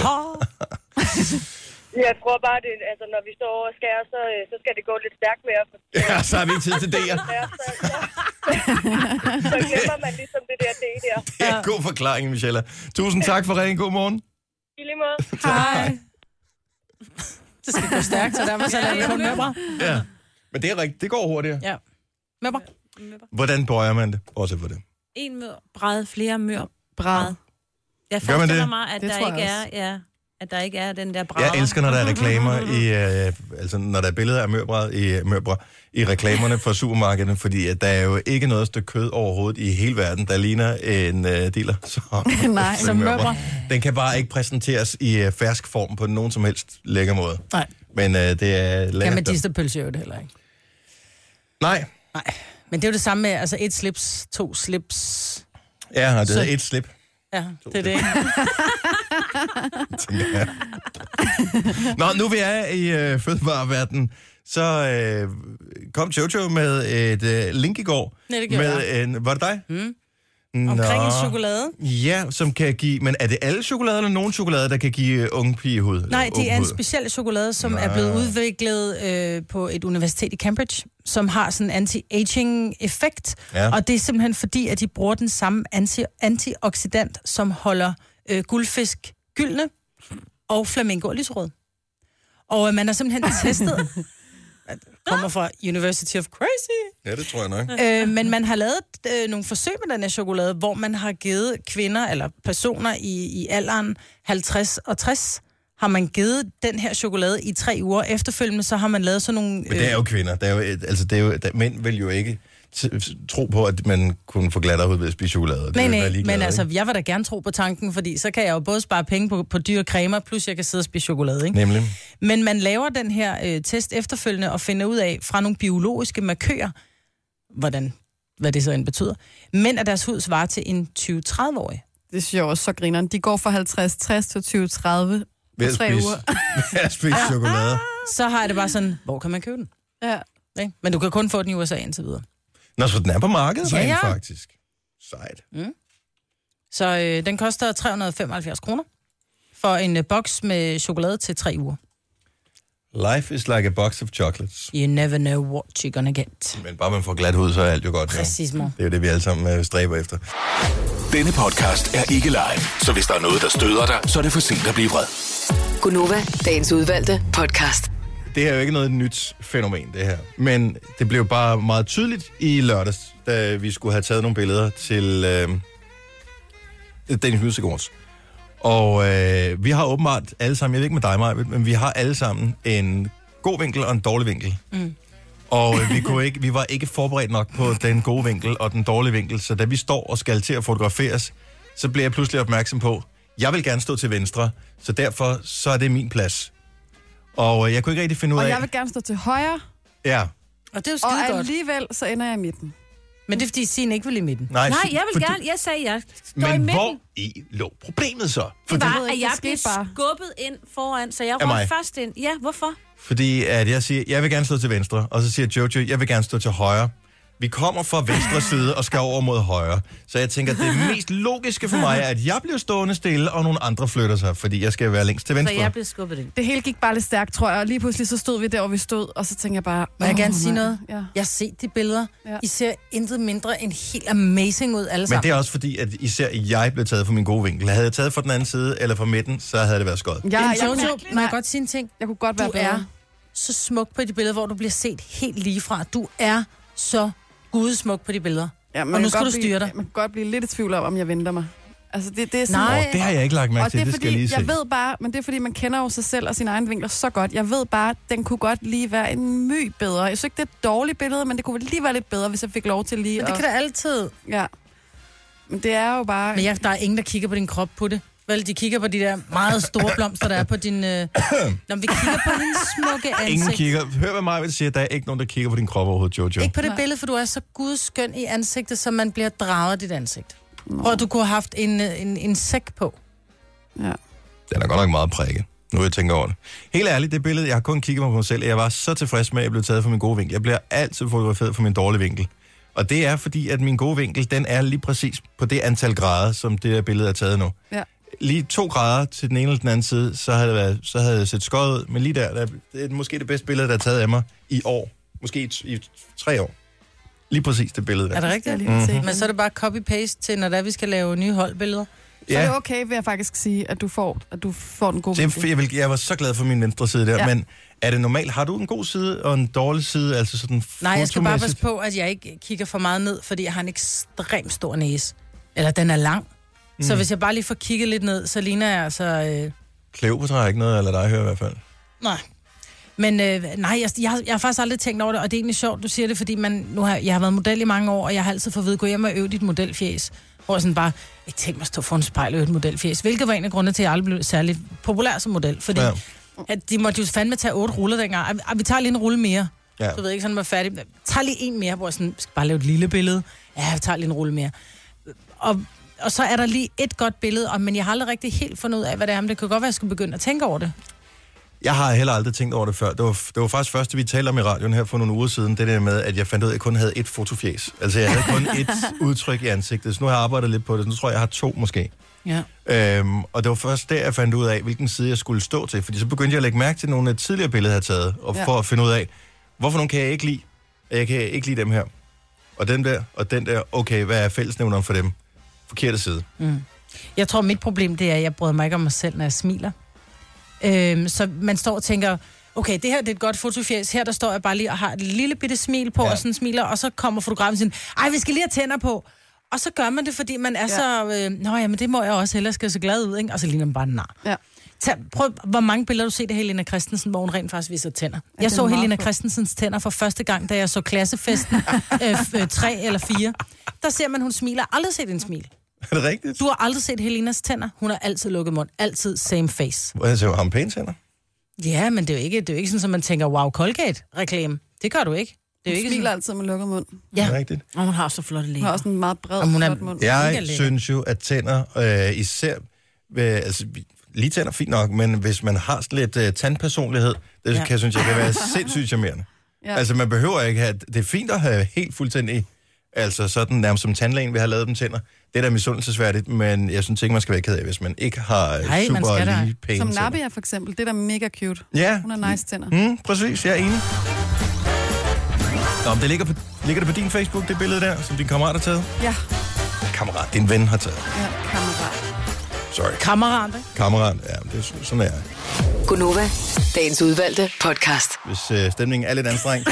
S8: Jeg tror bare, det, altså, når vi står over og skærer, så, øh, så skal det gå lidt stærkt med at få
S1: (laughs) Ja, så har vi ikke tid til det.
S8: Ja, så, så, så glemmer man ligesom det der D der.
S1: Det er en god forklaring, Michelle. Tusind tak for ringen. God morgen.
S8: I lige måde.
S4: Hej.
S3: Det skal gå stærkt, så derfor så laver vi kun mørbra.
S1: Ja. Men det er rigtigt. Det går hurtigere.
S3: Ja. Mørbra.
S1: Hvordan bøjer man det? Også for det.
S2: En mør bræd, flere mør
S4: Bræd.
S2: bræd. Jeg
S1: Gør man
S2: forestiller
S1: det?
S2: mig, at
S4: Det
S2: der
S4: tror jeg
S2: ikke er, ja, at der ikke er den der bræd.
S1: Jeg elsker, når der er reklamer i... Øh, altså, når der er billeder af mørbræd i, øh, mørbræd, i reklamerne for supermarkederne, fordi at der er jo ikke noget stykke kød overhovedet i hele verden, der ligner en øh, dealer. (laughs) Så,
S4: Nej,
S1: som
S4: som
S1: mørbræd.
S4: mørbræd.
S1: Den kan bare ikke præsenteres i øh, fersk form på nogen som helst lækker måde.
S3: (laughs) Nej.
S1: Men øh, det er lækkert.
S3: Ja, men distepølse er jo det heller ikke.
S1: Nej.
S3: Nej. Men det er jo det samme med, altså et slips, to slips.
S1: Ja, og det
S3: Så-
S1: er et slip.
S3: Ja, det er det. (laughs)
S1: tænker jeg. Nå, nu vi er i øh, fødevareverdenen, så øh, kom Jojo med et øh, link i går.
S3: Ja, det gjorde
S1: med en, var det dig? Mm. Nå,
S3: Omkring en chokolade.
S1: Ja, som kan give... Men er det alle chokolader eller nogen chokolade, der kan give øh, unge pigehud?
S3: Nej,
S1: Eller
S3: det
S1: ung
S3: er en
S1: hud?
S3: speciel chokolade, som er blevet udviklet øh, på et universitet i Cambridge, som har sådan en anti-aging-effekt.
S1: Ja.
S3: Ja. Og det er simpelthen fordi, at de bruger den samme anti- antioxidant, som holder øh, guldfisk gyldne og flamingo og lyserød. Og øh, man har simpelthen testet... (laughs) kommer fra University of Crazy.
S1: Ja, det tror jeg nok.
S3: Øh, men man har lavet øh, nogle forsøg med den her chokolade, hvor man har givet kvinder eller personer i, i alderen 50 og 60, har man givet den her chokolade i tre uger. Efterfølgende så har man lavet sådan nogle... øh,
S1: Men det er jo kvinder. Det er jo, et- altså, det er jo, der, mænd vil jo ikke t- tro på, at man kunne få glattere hud ved at spise chokolade. Det
S3: Nej,
S1: vil
S3: nej,
S1: være ligeglade,
S3: men altså,
S1: ikke?
S3: jeg vil da gerne tro på tanken, fordi så kan jeg jo både spare penge på, på dyre cremer, plus jeg kan sidde og spise chokolade, ikke?
S1: Nemlig.
S3: Men man laver den her øh, test efterfølgende og finder ud af fra nogle biologiske markører, hvordan, hvad det så end betyder, men at deres hud svarer til en 20-30-årig.
S4: Det synes jeg også så grineren. De går fra 50-60 til 20-30
S1: Ved
S4: på
S1: at
S4: tre
S1: spise,
S4: uger.
S1: (laughs)
S3: (laughs)
S4: (laughs)
S1: ved at spise chokolade.
S3: Så har jeg det bare sådan, hvor kan man købe den?
S4: Ja.
S3: Ikke? Men du kan kun få den i USA indtil videre.
S1: Nå, så den er på markedet
S3: Ja,
S1: ja, ja.
S3: ja.
S1: faktisk. Sejt.
S3: Mm. Så øh, den koster 375 kroner for en øh, boks med chokolade til tre uger.
S1: Life is like a box of chocolates.
S3: You never know what you're gonna get.
S1: Men bare man får glat hud, så er alt jo godt. jo.
S3: Præcis, mor.
S1: Det er jo det, vi alle sammen øh, stræber efter.
S5: Denne podcast er ikke live, så hvis der er noget, der støder dig, så er det for sent at blive vred.
S6: Gunova, dagens udvalgte podcast.
S1: Det er jo ikke noget nyt fænomen, det her. Men det blev bare meget tydeligt i lørdags, da vi skulle have taget nogle billeder til øh, Danish Music Awards. Og øh, vi har åbenbart alle sammen, jeg ved ikke med dig, Maja, men vi har alle sammen en god vinkel og en dårlig vinkel. Mm. Og øh, vi, kunne ikke, vi var ikke forberedt nok på den gode vinkel og den dårlige vinkel, så da vi står og skal til at fotograferes, så bliver jeg pludselig opmærksom på, jeg vil gerne stå til venstre, så derfor så er det min plads. Og øh, jeg kunne ikke rigtig finde ud
S4: Og
S1: af...
S4: jeg vil gerne stå til højre,
S1: Ja,
S3: Og det er jo
S4: og
S3: skide godt.
S4: alligevel så ender jeg i midten.
S3: Men det er fordi, Signe ikke vil i midten.
S1: nej,
S2: Nej,
S1: sy-
S2: jeg vil
S1: fordi-
S2: gerne. Jeg sagde, jeg står
S1: Men
S2: i midten.
S1: hvor i lå problemet så?
S2: Det
S1: Fordi,
S2: var,
S4: ved
S2: at
S4: ikke,
S2: jeg
S4: det
S2: blev
S4: skete bare.
S2: skubbet ind foran, så jeg
S1: Af
S2: røg
S1: mig.
S2: først ind. Ja, hvorfor?
S1: fordi at jeg siger, jeg vil gerne stå til venstre, og så siger Jojo, jeg vil gerne stå til højre. Vi kommer fra venstre side og skal over mod højre. Så jeg tænker, det mest logiske for mig er, at jeg bliver stående stille, og nogle andre flytter sig, fordi jeg skal være længst til
S2: Så
S1: venstre.
S2: jeg blev skubbet ind.
S4: Det hele gik bare lidt stærkt, tror jeg, og lige pludselig så stod vi der, hvor vi stod, og så tænkte jeg bare...
S3: Må jeg
S4: "Åh,
S3: gerne sige
S4: mand."
S3: noget?
S4: Ja.
S3: Jeg har set de billeder.
S4: Ja.
S3: I ser intet mindre end helt amazing ud alle
S1: Men
S3: sammen.
S1: det er også fordi, at især jeg blev taget fra min gode vinkel. Havde jeg taget fra den anden side eller fra midten, så havde det været skødt.
S4: Jeg,
S3: Men
S4: jeg,
S3: Jojo,
S4: jeg,
S3: må jeg godt sige en ting?
S4: jeg kunne godt
S3: Du
S4: være bedre.
S3: er så smuk på de billeder, hvor du bliver set helt lige fra. Du er så gudsmuk på de billeder.
S4: Ja, man
S3: Og nu
S4: kan
S3: skal
S4: godt
S3: du styre
S4: blive,
S3: dig.
S4: Man kan godt blive lidt i tvivl om, om jeg venter mig. Altså, det, det er sådan,
S3: Nej.
S1: Og det har jeg ikke lagt mærke
S4: Og
S1: til,
S4: det er
S1: det skal jeg lige
S4: fordi,
S1: se.
S4: jeg ved bare, men det er fordi, man kender jo sig selv og sine egne vinkler så godt. Jeg ved bare, den kunne godt lige være en my bedre. Jeg synes ikke, det er et dårligt billede, men det kunne lige være lidt bedre, hvis jeg fik lov til lige
S3: Men det
S4: at...
S3: kan da altid.
S4: Ja. Men det er jo bare...
S3: Men jeg, der er ingen, der kigger på din krop på det. Vel, de kigger på de der meget store blomster, der er på
S1: (coughs)
S3: din... Øh... Nå, men vi kigger på hendes smukke ansigt.
S1: Ingen kigger. Hør, hvad Maja vil sige. Der er ikke nogen, der kigger på din krop overhovedet, Jojo.
S3: Ikke på det billede, for du er så gudskøn i ansigtet, så man bliver draget af dit ansigt. Og du kunne have haft en, øh, en, en sæk på.
S4: Ja.
S1: Den er godt nok meget prikket. Nu jeg tænker over det. Helt ærligt, det billede, jeg har kun kigget mig på mig selv, og jeg var så tilfreds med, at jeg blev taget fra min gode vinkel. Jeg bliver altid fotograferet fra min dårlige vinkel. Og det er fordi, at min gode vinkel, den er lige præcis på det antal grader, som det her billede er taget nu.
S4: Ja.
S1: Lige to grader til den ene eller den anden side, så havde, det været, så havde jeg set skøjet ud. Men lige der, der, det er måske det bedste billede, der er taget af mig i år. Måske i, t- i tre år. Lige præcis det billede der.
S3: Er det
S4: Skal jeg
S3: rigtigt?
S4: lige
S1: Mhm.
S4: se.
S3: Men så er det bare copy-paste til, når det er, vi skal lave nye holdbilleder.
S4: Så er det okay, vil jeg faktisk sige, at du får, at du får den gode
S1: Det, er- jeg, vil, jeg var så glad for min venstre side der, ja.
S4: Ja.
S1: men er det normalt? Har du en god side og en dårlig side? Altså sådan
S3: Nej, jeg skal bare passe
S1: fotomæssigt?
S3: på, at jeg ikke kigger for meget ned, fordi jeg har en ekstremt stor næse. Eller den er lang. Mm.
S1: Mhm.
S3: Så hvis jeg bare lige får kigget lidt ned, så ligner jeg altså... Øh,
S1: Kleopatra er ikke noget, eller dig hører i hvert fald.
S3: nej. Men øh, nej, jeg, jeg, har- jeg har faktisk aldrig tænkt over det, og det er egentlig sjovt, du siger det, fordi man, nu har, jeg har været model i mange år, og jeg har altid fået at vide, gå hjem og øve dit modelfjes. Hvor jeg sådan bare, jeg tænkte mig at stå for en spejl og øve et modelfjes. Hvilket var en af grundene til, at jeg aldrig blev særlig populær som model. Fordi
S1: Ja.
S3: ja. at de måtte jo fandme tage otte ruller dengang. Ej, ej, vi tager lige en rulle mere.
S1: Ja.
S3: Du ved ikke, sådan var færdig. Tag lige en mere, hvor jeg sådan, skal bare lave et lille billede. Ja, jeg tager lige en rulle mere. Og, og så er der lige et godt billede, og, men jeg har aldrig rigtig helt fundet ud af, hvad det er. Men det kan godt være, at jeg skulle begynde at tænke over det.
S1: Jeg har heller aldrig tænkt over det før. Det var, det var faktisk første, vi talte om i radioen her for nogle uger siden, det der med, at jeg fandt ud af, at jeg kun havde et fotofjes. Altså, jeg havde kun et udtryk i ansigtet, så nu har jeg arbejdet lidt på det, så nu tror jeg, jeg har to måske.
S3: Ja.
S1: Øhm, og det var først der, jeg fandt ud af, hvilken side jeg skulle stå til. Fordi så begyndte jeg at lægge mærke til nogle af de tidligere billeder, jeg havde taget, og ja.
S4: Ja.
S1: for at finde ud af, hvorfor nogle kan jeg ikke lide? Og Jeg kan ikke lide dem her. Og den der, og den der. Okay, hvad er fællesnævneren for dem? Forkerte side. (laughs)
S3: Mm. Jeg tror, mit problem det er, at jeg bryder mig ikke om mig selv, når jeg smiler. Øhm, så man står og tænker, okay, det her det er et godt fotofjæs. Her der står jeg bare lige og har et lille bitte smil på,
S1: Ja.
S3: ja. og sådan smiler, og så kommer fotografen sådan, ej, vi skal lige have tænder på. Og så gør man det, fordi man er ja. så, øh, nå ja, men det må jeg også, ellers skal jeg se glad ud, ikke? Og så ligner man bare en nar.
S4: Ja.
S3: Tag, prøv, hvor mange billeder har du set af Helena Christensen, hvor hun rent faktisk viser tænder. Jeg
S4: den
S3: så
S4: er meget
S3: Helena
S4: flot.
S3: Christensens tænder for første gang, da jeg så
S4: (laughs)
S3: klassefesten øh, f- øh, tre eller fire. Der ser man, hun smiler. Jeg har Aldrig set en smil.
S1: Er det rigtigt?
S3: Du har aldrig set Helenas tænder. Hun har altid lukket mund. Altid same face.
S1: Hvor jeg ser jo ham pænt tænder.
S3: Ja, men det er jo ikke, det er jo ikke sådan, at man tænker, wow, Colgate-reklame. Det gør du ikke. Det er jo
S4: Hun
S3: ikke
S4: smiler
S3: sådan.
S4: altid med lukket mund.
S1: Er
S3: Ja.
S1: det rigtigt?
S2: Og hun har så flotte
S4: Hun har
S2: læber.
S4: også en meget bred,
S3: Jamen, hun er-
S4: flot mund.
S1: Jeg
S3: Mega lækker.
S1: synes jo, at tænder, øh, især, øh, altså vi- lige tænder er fint nok, men hvis man har sådan lidt øh, tandpersonlighed, det ja.
S3: Ja.
S1: kan, synes jeg kan være sindssygt charmerende. Altså, Ja.
S4: Ja.
S1: Altså man behøver ikke have, det er fint at have helt fuldstændig Altså sådan nærmest som tandlægen vil have lavet dem tænder. Det er da misundelsesværdigt, men jeg synes ikke, man skal være ked af, hvis man ikke har øh,
S3: Nej, man
S1: super
S3: skal da.
S1: lige pæne
S4: Som
S1: tænder.
S4: Nabia for eksempel, det er da mega cute.
S1: Ja.
S4: Hun har nice tænder.
S1: Mm, præcis, jeg er enig. Nå, men det ligger, på, ligger det på din Facebook, det billede der, som din kammerat har taget?
S4: Ja,
S1: Kammerat, din ven har taget.
S4: ja kammerat.
S1: Sorry.
S3: Kammerat,
S1: Kammerat, ja, men det er sådan, jeg er.
S6: Gunova, dagens udvalgte podcast.
S1: hvis øh, stemningen er lidt
S3: (laughs)
S1: anstrengt.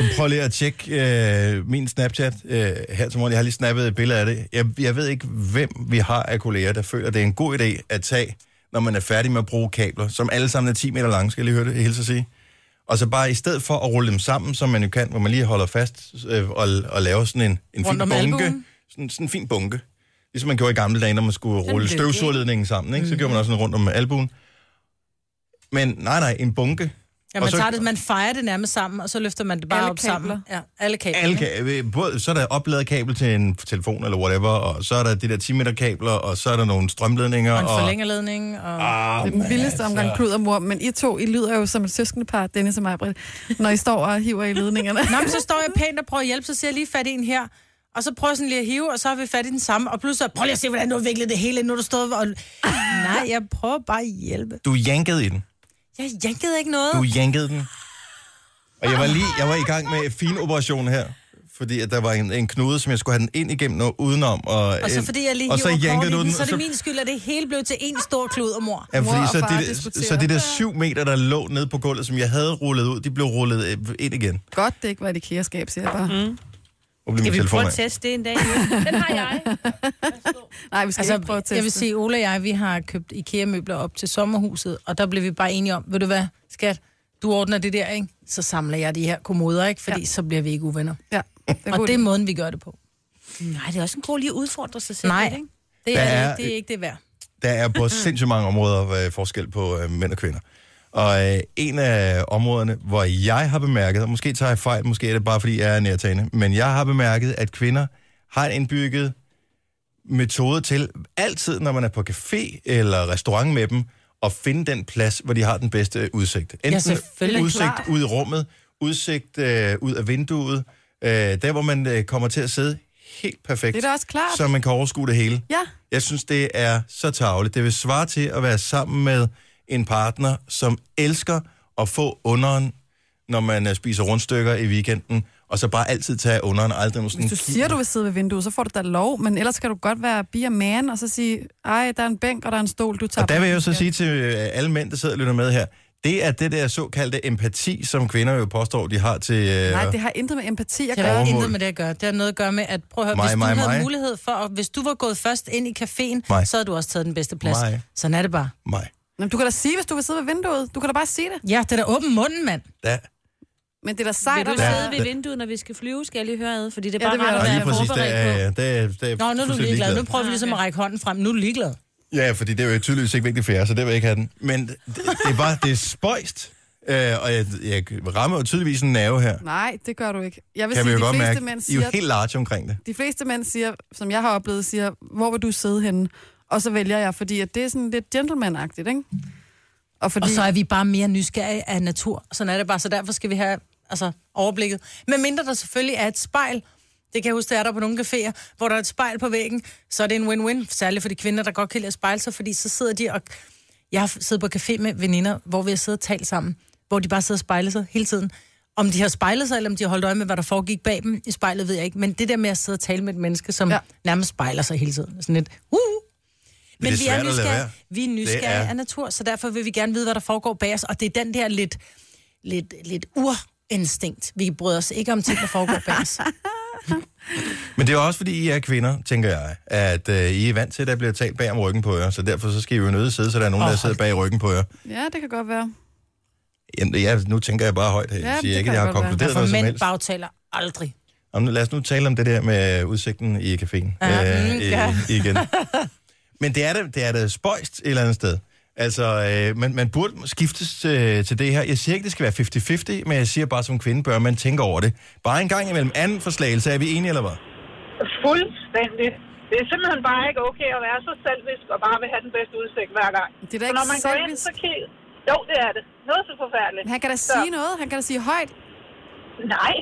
S1: Så Prøv lige at tjekke øh, min Snapchat øh, her til morgen. Jeg har lige snappet et billede af det. Jeg, jeg ved ikke, hvem vi har af kolleger, der føler, det er en god idé at tage, når man er færdig med at bruge kabler, som alle sammen er 10 meter lange, skal jeg lige høre det, jeg hilser at sige. Og så bare i stedet for at rulle dem sammen, som man jo kan, hvor man lige holder fast øh, og, og laver sådan en, en fin
S3: Rundt om
S1: bunke.
S3: albuen.
S1: Sådan, sådan en fin bunke. Ligesom man gjorde i gamle dage, når man skulle rulle
S2: løfte.
S1: støvsugerledningen sammen. Ikke? Så
S3: Mm.
S1: gjorde man også sådan rundt om albuen. Men nej, nej, en bunke.
S3: Ja,
S1: Og
S3: man,
S1: så-
S3: så, tager det, man fejrer det nærmest sammen, og så løfter man det bare
S4: Alle
S3: op
S4: kabler.
S3: sammen. Ja, alle kabler.
S1: Alle ka- både, så er der opladerkabel til en telefon eller whatever, og så er der de der 10 meter kabler, og så er der nogle strømledninger.
S3: Og en forlængerledning. Og...
S1: Ah,
S4: Det er den
S1: men
S4: vildeste omgang kludermor, men I to, I lyder jo som et søskendepar, Dennis og mig, når I står og hiver i ledningerne.
S3: Nå, men så står jeg pænt og prøver at hjælpe, så ser jeg lige fat i en her. Og så prøver jeg sådan lige at hive, og så har vi fat i den samme. Og pludselig, prøv lige at se, hvordan du har viklet det hele, nu er du stået og...
S4: (laughs)
S3: Nej, jeg prøver bare at hjælpe.
S1: Du jankede i den.
S3: Jeg jankede ikke noget.
S1: Du jankede den. Og jeg var lige jeg var i gang med en fin operation her, fordi at der var en, en knude, som jeg skulle have den ind igennem og udenom. Og,
S3: Og så fordi jeg lige
S1: Øh, og så
S3: hiver
S1: jankede
S3: kort i
S1: du
S3: den,
S1: den,
S3: så er
S1: og
S3: det min skyld, at det hele blev til en stor klud og mor.
S1: Ja, fordi
S4: Mor og
S1: så,
S4: far
S1: det,
S4: diskuterer.
S1: så det der syv meter, der lå nede på gulvet, som jeg havde rullet ud, de blev rullet øh, ind igen.
S4: (laughs) Godt, det ikke var et IKEA-skab, siger jeg bare. Mm.
S1: Og blev
S2: Skal
S1: min
S2: vi
S1: telefon
S2: prøve
S1: af.
S2: at teste det en
S4: (laughs)
S2: dag? Den har
S3: (laughs)
S2: jeg.
S4: Nej, vi skal altså, ikke prøve
S3: Altså,
S4: at teste.
S3: jeg vil sige, Ola og jeg, vi har købt IKEA-møbler op til sommerhuset, og der blev vi bare enige om, ved du hvad, skat, du ordner det der, ikke? Så samler jeg de her kommoder, ikke? Fordi ja. så bliver vi ikke uvenner.
S4: Ja, det er
S3: og
S4: godt.
S3: det er måden, vi gør det på.
S2: Nej, det er også en god lige at udfordre sig selv.
S3: Nej,
S2: lidt, ikke?
S3: det er,
S1: Der er-
S3: er, det, det er ikke det værd.
S1: Der er på sindssygt mange områder øh, forskel på øh, mænd og kvinder. Og øh, en af områderne, hvor jeg har bemærket, og måske tager jeg fejl, måske er det bare fordi jeg er nærtagende, men jeg har bemærket, at kvinder har en indbygget metode til, altid når man er på café eller restaurant med dem, at finde den plads, hvor de har den bedste udsigt. Enten
S3: selvfølgelig.
S1: udsigt ud i rummet, udsigt øh, ud af vinduet, øh, der hvor man øh, kommer til at sidde helt perfekt,
S4: Det er da også klart.
S1: så man kan overskue det hele.
S4: Ja,
S1: Jeg synes, det er så tageligt. Det vil svare til at være sammen med en partner, som elsker at få underen, når man øh, spiser rundstykker i weekenden, og så bare altid tage underen, aldrig nogen sådan...
S4: hvis du siger, du vil sidde ved vinduet, så får du da lov, men ellers kan du godt være be man, og så sige, ej, der er en bænk, og der er en stol, du tager.
S1: Og der vil jeg jo
S4: den."
S1: så sige til øh, alle mænd, der sidder og lytter med her, det er det der såkaldte empati, som kvinder jo påstår, de har til... Øh,
S4: Nej, det har intet med empati at
S3: Det
S4: gøre.
S3: har
S1: Overmål.
S3: intet med det at gøre. Det har noget at gøre med, at prøv at høre,
S1: Mig,
S3: hvis du
S1: mig,
S3: havde
S1: mig.
S3: mulighed for, og hvis du var gået først ind i caféen,
S1: Mig.
S3: så havde du også taget den bedste plads.
S1: Mig.
S3: Sådan er det bare.
S1: mig.
S4: Nå, men du kan da sige, hvis du vil sidde ved vinduet. Du kan da bare sige det.
S3: Ja, det er da åben munden, mand.
S1: Da.
S4: Men det er da
S2: Vil
S4: sejt
S2: du
S4: at
S1: Ja.
S4: være...
S2: sidde ved vinduet, når vi skal flyve, skal jeg lige høre ad, fordi det er
S4: Ja,
S2: bare
S4: det vil jeg
S2: rart
S1: Og
S2: at
S1: lige
S2: være
S1: præcis, der
S2: forberedt på.
S1: er, der, er, der er
S3: Nå, nu er du
S1: fuldstændig
S3: ligeglad. Nu
S1: ligeglad.
S3: prøver vi ligesom at række hånden frem. Nu er du ligeglad.
S1: Ja, fordi det er jo tydeligvis ikke vigtigt for jer, så det vil jeg ikke have den. Men det, det er bare, det er spøjst. Øh, og jeg, jeg rammer jo tydeligvis en nerve her.
S4: Nej, det gør du ikke. Jeg vil
S1: kan vi jo
S4: sige, de
S1: godt
S4: fleste
S1: mærke.
S4: mænd
S1: I er
S4: siger,
S1: jo helt large omkring det.
S4: de fleste mænd siger, som jeg har oplevet, siger, hvor vil du sidde henne? Og så vælger jeg, fordi at det er sådan lidt gentleman-agtigt, ikke? Og, fordi,
S3: Og så er vi bare mere nysgerrige af natur. Sådan er det bare, så derfor skal vi have altså, overblikket. Men mindre der selvfølgelig er et spejl, det kan jeg huske, der er der på nogle caféer, hvor der er et spejl på væggen, så er det en win-win, særligt for de kvinder, der godt kan lide at spejle sig, fordi så sidder de og... Jeg har siddet på café med veninder, hvor vi har siddet og talt sammen, hvor de bare sidder og spejler sig hele tiden. Om de har spejlet sig, eller om de har holdt øje med, hvad der foregik bag dem i spejlet, ved jeg ikke. Men det der med at sidde og tale med et menneske, som
S4: Ja.
S3: ja. nærmest spejler sig hele tiden. Sådan lidt, uh! Men
S1: er
S3: vi
S1: svært
S3: er
S1: at lade være.
S3: nysgerrige. Vi er
S1: Det
S3: nysgerrige
S1: er-
S3: af natur, så derfor vil vi gerne vide, hvad der foregår bag os. Og det er den der lidt, lidt, lidt urinstinkt. Vi bryder os ikke om ting, der foregår bag
S4: (laughs)
S3: os.
S1: Men det er jo også, fordi I er kvinder, tænker jeg, at øh, I er vant til, at der bliver talt bag om ryggen på jer, så derfor så skal I jo nødt sidde, så der er nogen, oh, der
S3: Åh,
S1: sidder bag ryggen på jer.
S4: ja, det kan godt være.
S1: Jamen, ja, nu tænker jeg bare højt her.
S4: Ja,
S1: Jeg siger
S4: det
S1: ikke,
S4: kan
S1: at jeg har
S4: godt være. Altså,
S1: konkluderet noget
S3: For
S1: som
S3: Altså, mænd
S1: helst.
S3: bagtaler aldrig.
S1: Jamen, lad os nu tale om det der med udsigten i caféen
S3: Ja, mm,
S1: øh,
S3: ja.
S1: i,
S3: (laughs)
S1: igen. Men det er da, det er da spøjst et eller andet sted. Altså, øh, man, man burde skiftes øh, til det her. Jeg siger ikke, det skal være 50-50, men jeg siger bare, som kvinde bør man tænke over det. Bare en gang imellem anden forslagelse, er vi enige eller hvad?
S8: Fuldstændig. Det er simpelthen bare ikke okay at være så selvisk og bare vil have den bedste udsigt hver gang.
S4: Det er da
S8: Så
S4: ikke
S8: når man går ind,
S4: selvisk.
S8: så kig... Jo, det er det. Noget så forfærdeligt.
S4: Men han kan da
S8: Så-
S4: sige noget. Han kan da sige højt.
S8: Nej.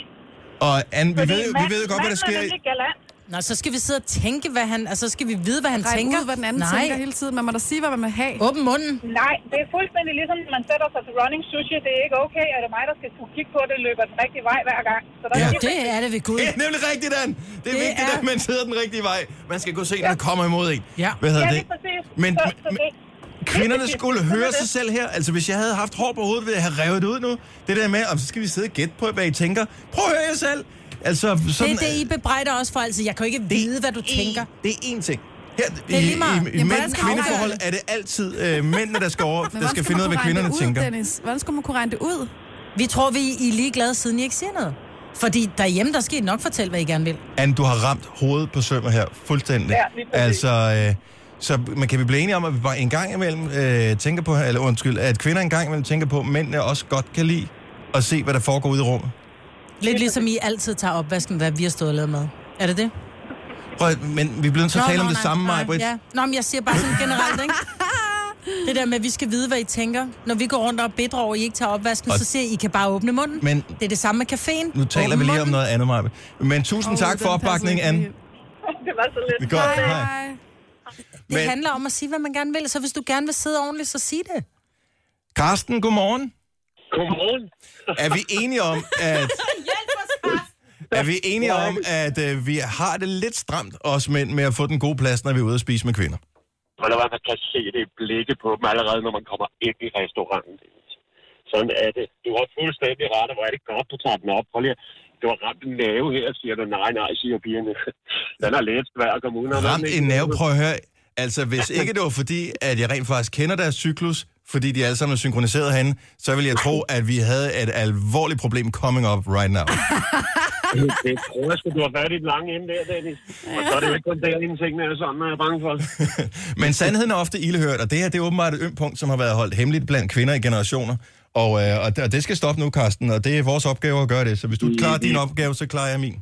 S1: Og Anne, vi
S8: Fordi
S1: ved,
S8: mand-
S1: vi ved jo godt, hvad der
S8: manden er
S1: sker.
S8: nemlig galant.
S3: Nå, så skal vi sidde og tænke, hvad han... Altså, så skal vi vide, hvad han
S4: Regn
S3: tænker.
S4: ud, hvad den anden
S3: Nej.
S4: tænker hele tiden. Man må da sige, hvad man vil have.
S3: Åben munden.
S8: Nej, det er fuldstændig ligesom, når man sætter sig til running sushi. Det er ikke okay, at det er mig, der skal kunne kigge på det, løber den rigtige vej hver gang. Så der
S1: Ja.
S8: ja.
S3: Det er det ved Gud.
S1: (laughs) Det er nemlig rigtigt, Dan. Det er
S3: Det
S1: vigtigt,
S3: er-
S1: at man sidder den rigtige vej. Man skal kunne se, når der kommer imod en.
S3: Ja.
S1: Hvad hedder
S8: Ja,
S1: det?
S8: lige præcis.
S1: Men,
S8: så, så
S1: men
S8: det.
S1: kvinderne skulle
S8: Sådan er
S1: høre
S8: det.
S1: sig selv her. Altså, hvis jeg havde haft hår på hovedet, ville jeg have revet det ud nu. Det der med, om så skal vi sidde og gætte på, hvad I tænker. Prøv at høre jer selv. Altså,
S3: Det
S1: sådan,
S3: er det, I bebrejder også for altid. Jeg kan jo ikke vide, hvad du tænker.
S1: Det er én ting. Her,
S3: er lige
S1: I,
S3: meget.
S1: i, i
S3: Jamen,
S1: mænd,
S3: hvordan skal man
S1: kvindeforhold
S3: afgøre
S1: er det altid øh, mændene, der skal, over,
S4: Men
S1: der
S4: hvordan
S1: skal
S4: man
S1: finde ud af,
S4: kunne
S1: hvad
S4: regne
S1: kvinderne
S4: det ud,
S1: tænker.
S4: Dennis? Hvordan skulle man kunne regne det ud?
S3: Vi tror, vi I er ligeglade, siden I ikke siger noget. Fordi derhjemme, der skal I nok fortælle, hvad I gerne vil.
S1: Anne, du har ramt hovedet på sømmer her fuldstændig.
S8: Ja, lige præcis.
S1: altså, øh, så man kan vi blive enige om, at vi bare en gang imellem øh, tænker på, eller undskyld, at kvinder en gang imellem tænker på, at mændene også godt kan lide at se, hvad der foregår ude i rummet.
S3: Lidt ligesom I altid tager opvasken, hvad vi har stået og lavet med. Er det det?
S1: Prøv, at- men vi bliver nødt til at tale om det samme, Maja Britt.
S3: Ja. Nå, men jeg siger bare sådan generelt,
S1: (laughs)
S3: ikke? Det der med, at vi skal vide, hvad I tænker. Når vi går rundt og bedre over, at I ikke tager opvasken,
S1: Og-
S3: og... så siger I, I kan bare åbne munden.
S1: Men-
S3: Det er det samme med caféen.
S1: Nu taler
S3: Åbn
S1: vi lige om
S3: munden.
S1: noget andet, Maja. Britt. Men tusind oh,
S4: Åh,
S1: tak for
S4: den passer
S1: opbakningen,
S4: ikke
S1: Anne.
S4: lige.
S8: Det var så lidt.
S1: Det er godt.
S4: Hej,
S1: Hej.
S4: hej.
S3: Det
S1: Men-
S3: handler om at sige, hvad man gerne vil. Så hvis du gerne vil sidde ordentligt, så sig det.
S1: Karsten, godmorgen.
S9: Godmorgen.
S1: Er vi enige
S9: (laughs)
S1: om, at... Er vi enige om, at øh, vi har det lidt stramt, os mænd, med at få den gode plads, når vi er ude at spise med kvinder?
S9: Og der var, man kan se det i blikket på dem allerede, når man kommer ind i restauranten. Sådan er det. Du har fuldstændig ret, og hvor er det godt, du tager den op. Prøv lige. at- Du har ramt en nave her, siger du. Nej, nej, siger pigerne. (laughs) Den er lidt svær at komme udenom.
S1: Ramt en nerve, prøv at høre. Altså, hvis ikke det var fordi, at jeg rent faktisk kender deres cyklus, fordi de alle sammen er synkroniseret herinde, så ville jeg tro, at vi havde et alvorligt problem coming up right now.
S9: Det, (laughs) det tror jeg sgu, du har været i den lange ende der, Dennis. Og så er det jo ikke kun derinde, tingene er sådan, er jeg bange for.
S1: Men sandheden er ofte ildehørt, og det her det er åbenbart et ømt punkt, som har været holdt hemmeligt blandt kvinder i generationer. Og, øh, og det- og det skal stoppe nu, Karsten, og det er vores opgave at gøre det. Så hvis du klarer din opgave, så klarer jeg min.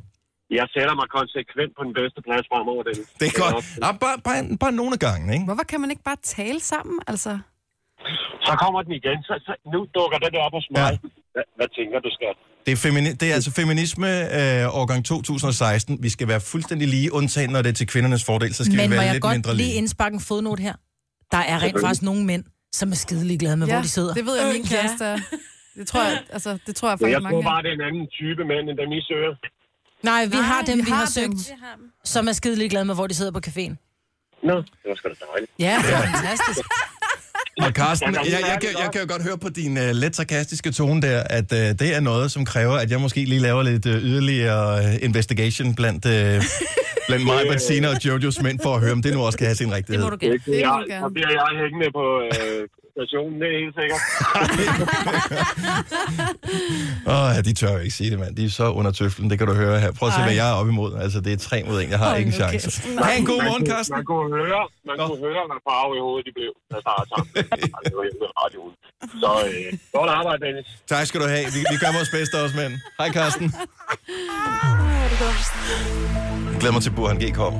S9: Jeg sætter mig konsekvent på den bedste plads fremover, Dennis.
S1: Det er godt. Ja, Ah, bare, bare, bare nogle gange, ikke?
S4: Hvorfor kan man ikke bare tale sammen, altså?
S9: Så kommer den igen. Så, så nu dukker den op hos mig.
S1: Ja.
S9: Ja. Hvad, hvad tænker du, skat?
S1: Det er, femini- det er altså feminisme øh, årgang 2016. Vi skal være fuldstændig lige, undtagen når det er til kvindernes fordel, så skal
S3: Men
S1: vi
S3: må
S1: være
S3: jeg
S1: lidt
S3: godt
S1: mindre
S3: lige
S1: lige.
S3: indsparke en fodnote her? Der er rent faktisk nogle mænd, som er skidelig glade med, ja, hvor de sidder.
S4: det ved jeg, min
S3: Øh,
S4: kæreste er. Det tror jeg, altså, det tror jeg
S9: Men
S4: faktisk
S9: jeg
S4: mange
S9: tror
S4: er.
S9: bare, det er en anden type mænd, end dem I søger.
S3: Nej, vi
S4: Nej,
S3: har dem, vi,
S4: vi
S3: har,
S4: har dem.
S3: søgt, som er skidelig glade med, hvor de sidder på caféen.
S9: Nå, det var sgu da dejligt.
S3: Ja, det er fantastisk.
S1: Og Carsten, jeg,
S9: Jeg
S1: jeg,
S9: kan
S1: jeg,
S9: mærke
S1: kan,
S9: det
S1: jeg
S9: godt.
S1: kan jo godt høre på din øh, let sarkastiske tone der, at øh, det er noget, som kræver, at jeg måske lige laver lidt øh, yderligere øh, investigation blandt, øh, blandt mig, Bettina og Jojos mænd, for at høre, om det nu også kan have sin rigtighed.
S3: Må du gerne.
S4: Det må
S9: jeg,
S4: du gerne.
S9: så bliver jeg hængende på øh, stationen, det er helt sikkert.
S1: Åh, oh, de tør jo ikke sige det, mand. De er så under tøflen, det kan du høre her. Prøv at se, hvad jeg er oppe imod. Altså, det er tre mod en, (laughs) jeg har ikke en chance. Ha' en god
S9: Man
S1: morgen,
S9: kunne-
S1: Carsten.
S9: Man kunne høre, man
S1: Nå.
S9: kunne høre, hvad farve i hovedet de blev, da startede
S1: (laughs)
S9: sammen. Ej, det var helt vildt radioen. Så øh, godt arbejde, Dennis.
S1: Tak skal du have. Vi, vi gør vores bedste også, mand. Hej, Carsten. Jeg glæder mig til, at Burhan G kommer.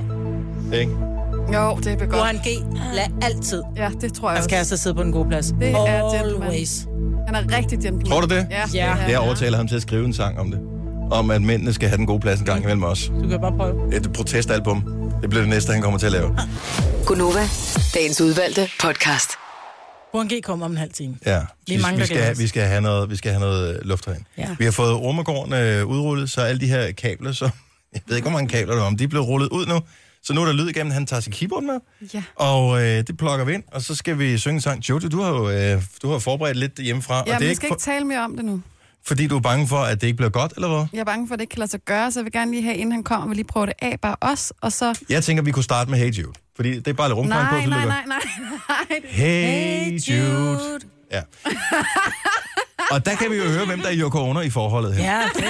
S1: Ikke?
S4: Jo, det er godt.
S3: Johan G. Lad altid
S4: Ja, det tror jeg
S3: hans
S4: også.
S3: kæreste sidde på en god plads.
S4: Det er gentleman.
S3: Always.
S4: Han er rigtig gentleman.
S1: Tror du det?
S4: Ja.
S3: Ja.
S1: Jeg overtaler ham til at skrive en sang om det. Om at mændene skal have den gode plads en gang imellem os.
S3: Du kan bare prøve.
S1: Et protestalbum. Det bliver det næste, han kommer til at lave.
S4: Ah.
S6: Gunova, dagens udvalgte podcast.
S3: Johan G. kommer om en halv time.
S1: Ja,
S3: Vi er mange,
S1: vi,
S3: der glæder
S1: skal,
S3: os.
S1: vi, skal have noget, vi skal have noget øh, luftregn.
S3: Ja.
S1: Vi har fået ormegården øh, udrullet, så alle de her kabler, så (laughs) jeg ved ikke, hvor mange kabler der var, men de er blevet rullet ud nu. Så nu er der lyd igennem, han tager sit keyboard med,
S4: Ja.
S1: og øh, det plukker vi ind, og så skal vi synge en sang. Jojo, du har jo øh, du har forberedt lidt hjemmefra,
S4: Ja,
S1: og det er
S4: men vi
S1: ikke,
S4: skal
S1: for,
S4: ikke tale mere om det nu.
S1: fordi du er bange for, at det ikke bliver godt, eller hvad?
S4: Jeg er bange for, at det ikke kan lade sig gøre, så jeg vil gerne lige have, inden han kommer, vi lige prøver det af, bare os, og så...
S1: Jeg tænker, vi kunne starte med Hey Jude, fordi det er bare lidt rumklang på,
S4: Nej,
S1: så
S4: nej,
S1: lykker.
S4: nej, nej, nej.
S1: Hey Jude. Ja. Og der kan vi jo høre, hvem der er Yoko Ono i forholdet her.
S3: Ja, det.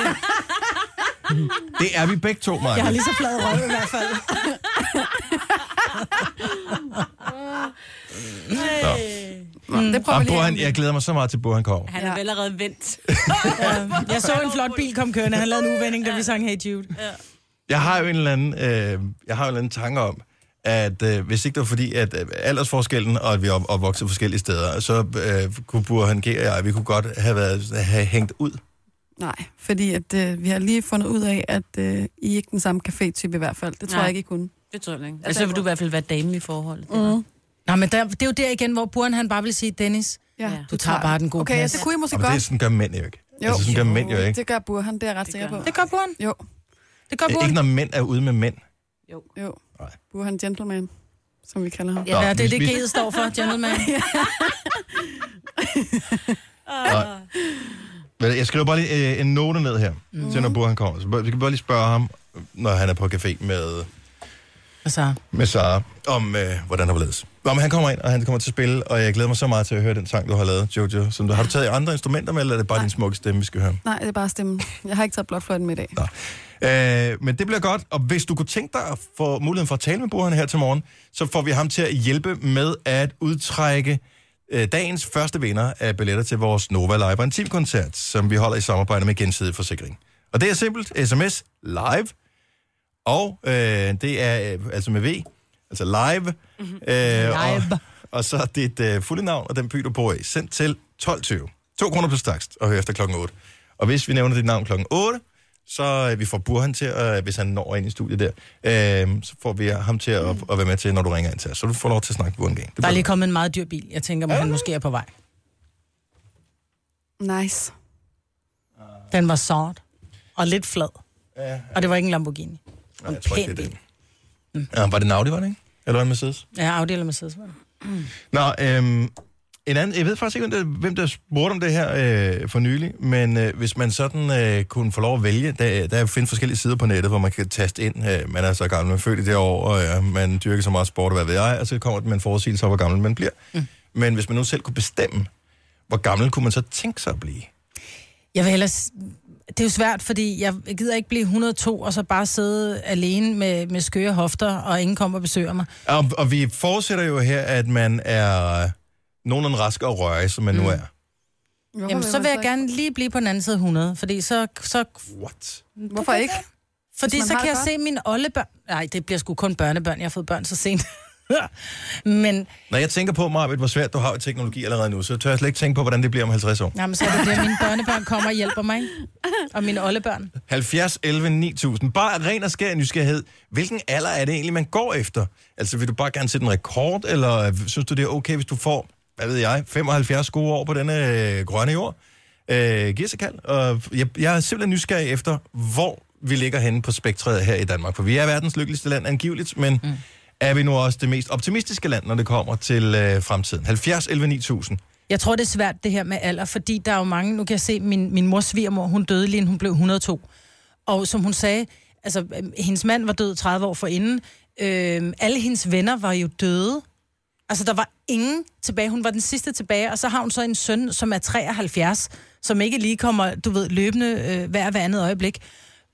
S1: Det er vi begge to, Maja.
S3: Jeg har lige så flad røv i hvert fald.
S2: Mm,
S4: Det prøver vi
S1: Jamen,
S4: lige.
S1: Burhan, jeg glæder mig så meget til, at Burhan kommer.
S2: Han er vel allerede vendt. (laughs)
S3: Jeg så en flot bil komme kørende. Han lavede en uvending, da vi sang Hey Jude.
S1: Jeg har jo en eller anden, øh, jeg har jo en eller anden tanke om, at øh, hvis ikke det var fordi, at øh, aldersforskellen, og at vi er op- opvokset forskellige steder, så øh, kunne Burhan G og jeg, vi kunne godt have, været, have hængt ud
S4: Nej, fordi at, øh, vi har lige fundet ud af, at øh, I er ikke den samme café-type i hvert fald. Det tror
S2: Nej.
S4: jeg ikke, I kunne.
S2: Det tror jeg ikke. Altså, så vil du i hvert fald være dame i forholdet. Mm.
S3: Nej, men der, det er jo der igen, hvor Buren han bare vil sige, Dennis,
S4: Ja.
S3: du tager bare den gode
S4: Okay, ja,
S3: plads.
S4: det kunne I måske
S1: Og det er
S4: godt.
S1: sådan gør mænd jo ikke. Jo. Altså, sådan gør mænd jo ikke.
S4: Det gør Burhan, det er jeg ret sikker på.
S3: Det gør Buren.
S4: Jo,
S3: Det gør
S1: Det er
S3: Buren.
S1: ikke, når mænd er ude med mænd.
S4: jo.
S1: Nej.
S4: Burhan Gentleman, som vi kalder ham.
S1: Nå,
S3: Ja, det er
S1: vi-
S3: det,
S1: vi-
S3: G'et står for,
S4: (laughs)
S3: gentleman.
S1: Men Jeg skriver bare lige øh, en note ned her, mm. til når Burhan kommer. Så vi kan bare lige spørge ham, når han er på café med,
S3: Altså,
S1: med Sara, om øh, hvordan han var ledes. Nå, men han kommer ind, og han kommer til at spille, og jeg glæder mig så meget til at høre den sang, du har lavet, Jojo. Som du, har du taget andre instrumenter med, eller er det bare din smukke stemme, vi skal høre?
S4: Nej, det er bare stemmen. Jeg har ikke taget blotfløjten med i dag.
S1: Nå. Øh, men det bliver godt, og hvis du kunne tænke dig at få muligheden for at tale med Burhan her til morgen, så får vi ham til at hjælpe med at udtrække øh, dagens første vinder af billetter til vores Nova Live og Intim-koncert, som vi holder i samarbejde med Gensidig Forsikring. Og det er simpelt, sms live, og øh, det er øh, altså med V, altså live, øh, Og,
S3: Live.
S1: og så dit øh, fulde navn og den by, du bor i, sendt til 12.20. 2 kroner plus takst, og hør efter klokken 8. Og hvis vi nævner dit navn klokken 8, så øh, vi får Burhan til, øh, hvis han når ind i studiet der, øh, så får vi ham til at, at være med til, når du ringer ind til os. Så du får lov til at snakke med Burhan gang. Det
S3: der er
S1: bliver-
S3: lige kommet en meget dyr bil. Jeg tænker, at han måske er på vej.
S4: Nice.
S3: Den var sort og lidt flad. Og det var ikke en Lamborghini.
S1: Nej, jeg tror ikke, det er
S3: pæn
S1: den. Ja, var det en Audi, var det ikke? Eller var det en Mercedes?
S3: Ja, Audi eller Mercedes. var det.
S1: Nå, øhm, en anden, jeg ved faktisk ikke, hvem der, hvem der spurgte om det her øh, for nylig, men øh, hvis man sådan øh, kunne få lov at vælge, der, der findes forskellige sider på nettet, hvor man kan taste ind, øh, man er så gammel, man er født i det år, og øh, man dyrker så meget sport, og hvad ved jeg, og så kommer det med en forudsigelse om, hvor gammel man bliver. Mm. Men hvis man nu selv kunne bestemme, hvor gammel kunne man så tænke sig at blive?
S3: Jeg vil ellers... Det er jo svært, fordi jeg gider ikke blive 102 og så bare sidde alene med, med skøre hofter, og ingen kommer og besøger mig.
S1: Og, og vi forudsætter jo her, at man er øh, nogenlunde rask og rørig, som man mm. nu er.
S4: Hvorfor
S3: Jamen, så
S4: man
S3: vil jeg
S4: ikke-
S3: gerne lige blive på den anden side af 100, fordi så, så
S1: What?
S4: Hvorfor ikke?
S3: Fordi
S4: man
S3: så
S4: har
S3: kan
S4: det
S3: jeg se mine oldebørn... Nej, det bliver sgu kun børnebørn. Jeg har fået børn så sent. (laughs) men,
S1: Når jeg tænker på, Marbet, hvor svært du har i teknologi allerede nu, så tør jeg slet ikke tænke på, hvordan det bliver om 50 år.
S3: jamen, så er det der, mine børnebørn kommer og hjælper mig. ikke? Og mine oldebørn.
S1: 70, 11, 9000. Bare ren og skær nysgerrighed. Hvilken alder er det egentlig, man går efter? Altså, vil du bare gerne sætte en rekord, eller øh, synes du, det er okay, hvis du får, hvad ved jeg, 75 gode år på denne øh, grønne jord? Øh, giv os et kald. Og jeg, jeg er simpelthen nysgerrig efter, hvor vi ligger henne på spektret her i Danmark. For vi er verdens lykkeligste land angiveligt, men mm. er vi nu også det mest optimistiske land, når det kommer til øh, fremtiden? 70, 11, 9000.
S3: Jeg tror, det er svært, det her med alder, fordi der er jo mange... Nu kan jeg se, min, min mors svigermor, hun døde lige, inden hun blev 102. Og som hun sagde, altså, øh, hendes mand var død 30 år forinden. Øh, alle hendes venner var jo døde. Altså, der var ingen tilbage. Hun var den sidste tilbage, og så har hun så en søn, som er 73, som ikke lige kommer, du ved, løbende øh, hver, hver andet øjeblik.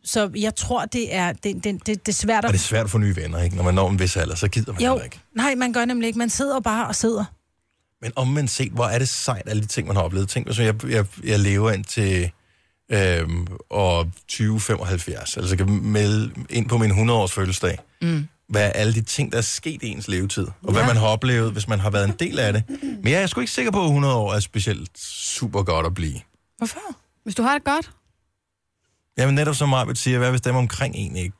S3: Så jeg tror, det er, det, det, det, det er svært
S1: Og
S3: at...
S1: det er svært at få nye venner, ikke? Når man når en vis alder, så gider man
S3: Jo,
S1: heller ikke.
S3: nej, man gør nemlig ikke. Man sidder bare og sidder.
S1: Men omvendt set, hvor er det sejt, alle de ting, man har oplevet. Tænk, hvis jeg, jeg, jeg lever ind til øhm, år 2075, altså jeg kan melde ind på min 100-års fødselsdag. Mm. Hvad er alle de ting, der er sket i ens levetid, og ja. hvad man har oplevet, hvis man har været en del af det. Men jeg er sgu ikke sikker på, at 100 år er specielt super godt at blive.
S3: Hvorfor?
S4: Hvis du har det godt,
S1: Jamen netop som Marbet siger, hvad hvis dem omkring en ikke?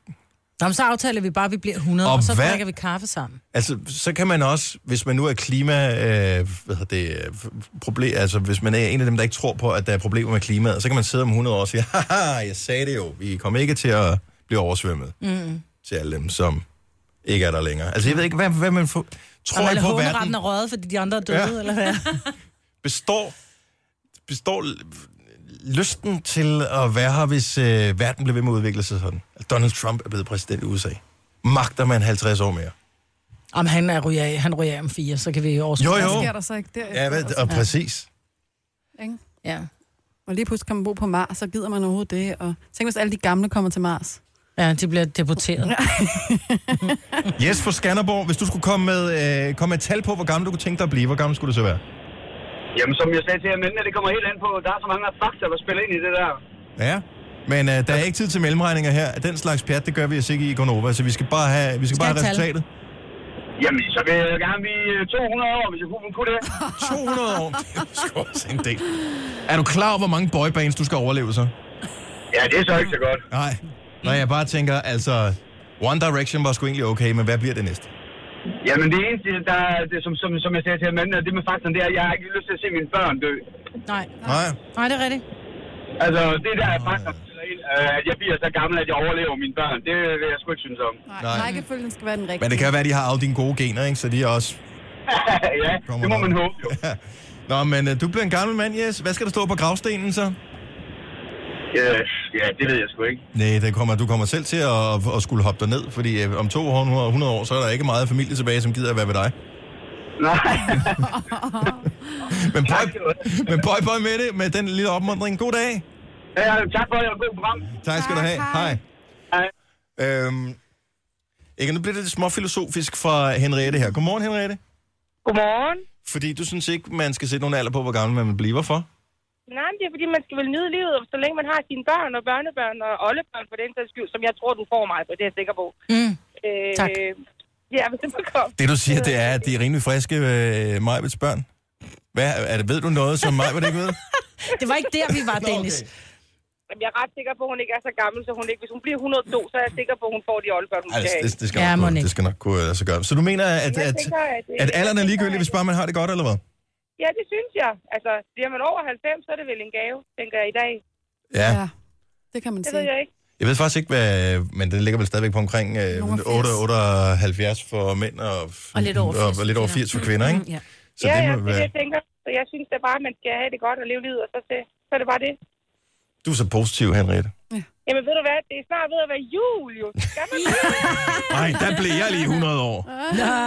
S3: Nå, men så aftaler vi bare, at vi bliver 100,
S1: Og
S3: og, og så
S1: hvad-
S3: drikker vi kaffe sammen.
S1: Altså, så kan man også, hvis man nu er klima... Øh, hvad hedder det? øh, Problem, altså, hvis man er en af dem, der ikke tror på, at der er problemer med klimaet, så kan man sidde om 100 år og sige, haha, jeg sagde det jo, vi kommer ikke til at blive oversvømmet. Mm. Til alle dem, som ikke er der længere. Altså, jeg ved ikke, hvad, hvad man får... Tror
S3: Tror
S1: jeg
S3: eller
S1: på,
S3: håneretten
S1: verden
S3: er røget, fordi de andre er døde,
S1: Ja.
S3: ja.
S1: (laughs)
S3: eller hvad?
S1: består, består l- lysten til at være her, hvis øh, verden bliver ved med at udvikle sig sådan? At Donald Trump er blevet præsident i USA. Magter man 50 år mere?
S3: Om han er ryger af, han ryger af om fire, så kan vi overskue.
S1: Jo,
S4: hvad
S1: jo.
S4: sker der så ikke der?
S1: Ja, hvad, og præcis.
S4: Ikke?
S3: Ja.
S4: Og lige pludselig kan man bo på Mars, så gider man overhovedet det. Og tænk, hvis alle de gamle kommer til Mars.
S3: ja, de bliver
S1: (laughs)
S3: deporteret.
S1: Yes for Skanderborg. Hvis du skulle komme med, øh, komme med et tal på, hvor gammel du kunne tænke dig at blive, hvor gammel skulle du så være?
S9: Jamen, som jeg sagde til jer, men det kommer helt an på, der er så mange fakta, der spiller ind i det der.
S1: Ja. Men øh, der er ikke tid til mellemregninger her. Den slags pjat, det gør vi altså ikke i Gonova, så vi skal bare have, vi skal bare
S3: have
S1: have
S3: et tal.
S1: resultatet.
S9: Jamen, så vil jeg gerne blive øh, 200 år, hvis jeg kunne
S1: (laughs)
S9: kunne det.
S1: 200 år. Det er sgu også en del. Er du klar over, hvor mange boybands du skal overleve så?
S9: Ja, det er så ikke så godt.
S1: Nej. Nej, jeg bare tænker, altså... One Direction var sgu egentlig okay, men hvad bliver det næste?
S9: Jamen det eneste, der, er- det, som, som, som jeg sagde til Amanda, det med faktoren, det er, at jeg har ikke lyst til at se mine børn dø.
S3: Nej.
S1: Nej.
S3: Nej, det er rigtigt.
S9: Altså, det der er faktoren, der spiller ind, øh, at jeg bliver så gammel, at jeg overlever mine børn, det vil jeg sgu ikke synes om.
S1: Nej.
S4: Nej, rækkefølgen skal være den rigtige.
S1: Men det kan jo være, at de har alle dine gode gener, ikke? Så de er også...
S9: ja,
S1: Kommer
S9: det må
S1: nok.
S9: man håbe jo.
S1: Nå, men øh, du bliver en gammel mand, Jes. Hvad skal der stå på gravstenen så?
S9: Ja, ja, det ved jeg sgu ikke.
S1: Nej, det kommer, du kommer selv til at, at skulle hoppe ned, fordi øh, om 200 100 år, så er der ikke meget familie tilbage, som gider at være ved dig.
S9: Nej, (laughs)
S1: Men
S9: tak
S1: pøj,
S9: skal du have.
S1: men pøj, pøj med det, med den lille opmuntring. God dag.
S9: Ja, tak for det, og god program.
S1: Tak skal du have. Hej.
S9: Hej.
S1: Øhm, ikke, nu bliver det lidt småfilosofisk fra Henriette her. Godmorgen, Henriette.
S8: Godmorgen.
S1: Fordi du synes ikke, man skal sætte nogen alder på, hvor gammel man vil blive. Hvorfor?
S8: Nej, men det er fordi, man skal vel nyde livet, og så længe man har sine børn og børnebørn og oldebørn for den sags skyld, som jeg tror, du får mig på, det er jeg sikker på.
S3: Mm.
S8: Øh,
S3: Tak.
S8: Ja, velbekomme.
S1: Det, du siger, det er, at de er rimelig friske, øh, Majbets børn. Hvad, er det, ved du noget, som Majbet ikke ved?
S3: Det var ikke der, vi var,
S1: Nå, okay.
S3: Dennis.
S8: Jamen, jeg er ret sikker på, at hun ikke er så gammel, så hun ikke, hvis hun bliver 102, så er jeg sikker på, at hun får de oldebørn, hun
S1: Ej,
S8: skal have.
S1: Altså, det, det, skal
S3: Ja,
S1: nok,
S3: mon
S1: kunne-
S3: ikke.
S1: det skal nok kunne lade sig gøre. Så du mener, at,
S8: Jeg
S1: at,
S8: tænker, at, øh,
S1: at alderen er
S8: jeg
S1: ligegyldig,
S8: tænker,
S1: hvis bare man har det godt, eller hvad?
S8: at- Ja, det synes jeg. Altså, bliver man over 90, så er det vel en gave, tænker jeg i dag.
S1: Ja.
S4: Ja, det kan man
S8: Det ved
S4: sige.
S8: jeg ikke.
S1: Jeg ved faktisk ikke, hvad, men den ligger vel stadigvæk på omkring øh,
S4: Nogle af
S1: 8,
S4: 80.
S1: 78 for mænd og,
S2: Og lidt over 80
S1: og lidt over
S2: for
S1: 80 for kvinder, ikke?
S8: Mm.
S2: Ja.
S1: Så
S8: ja,
S1: det
S8: ja,
S1: må
S8: det er
S1: være...
S8: det, jeg tænker. Så jeg synes da bare, at man skal have det godt og leve livet, og så, se- så er det bare det.
S1: Du er så positiv, Henriette.
S8: Jamen, ved du hvad? Det er snart ved at være jul, jo. Skal man
S1: Nej, der blev jeg lige 100 år.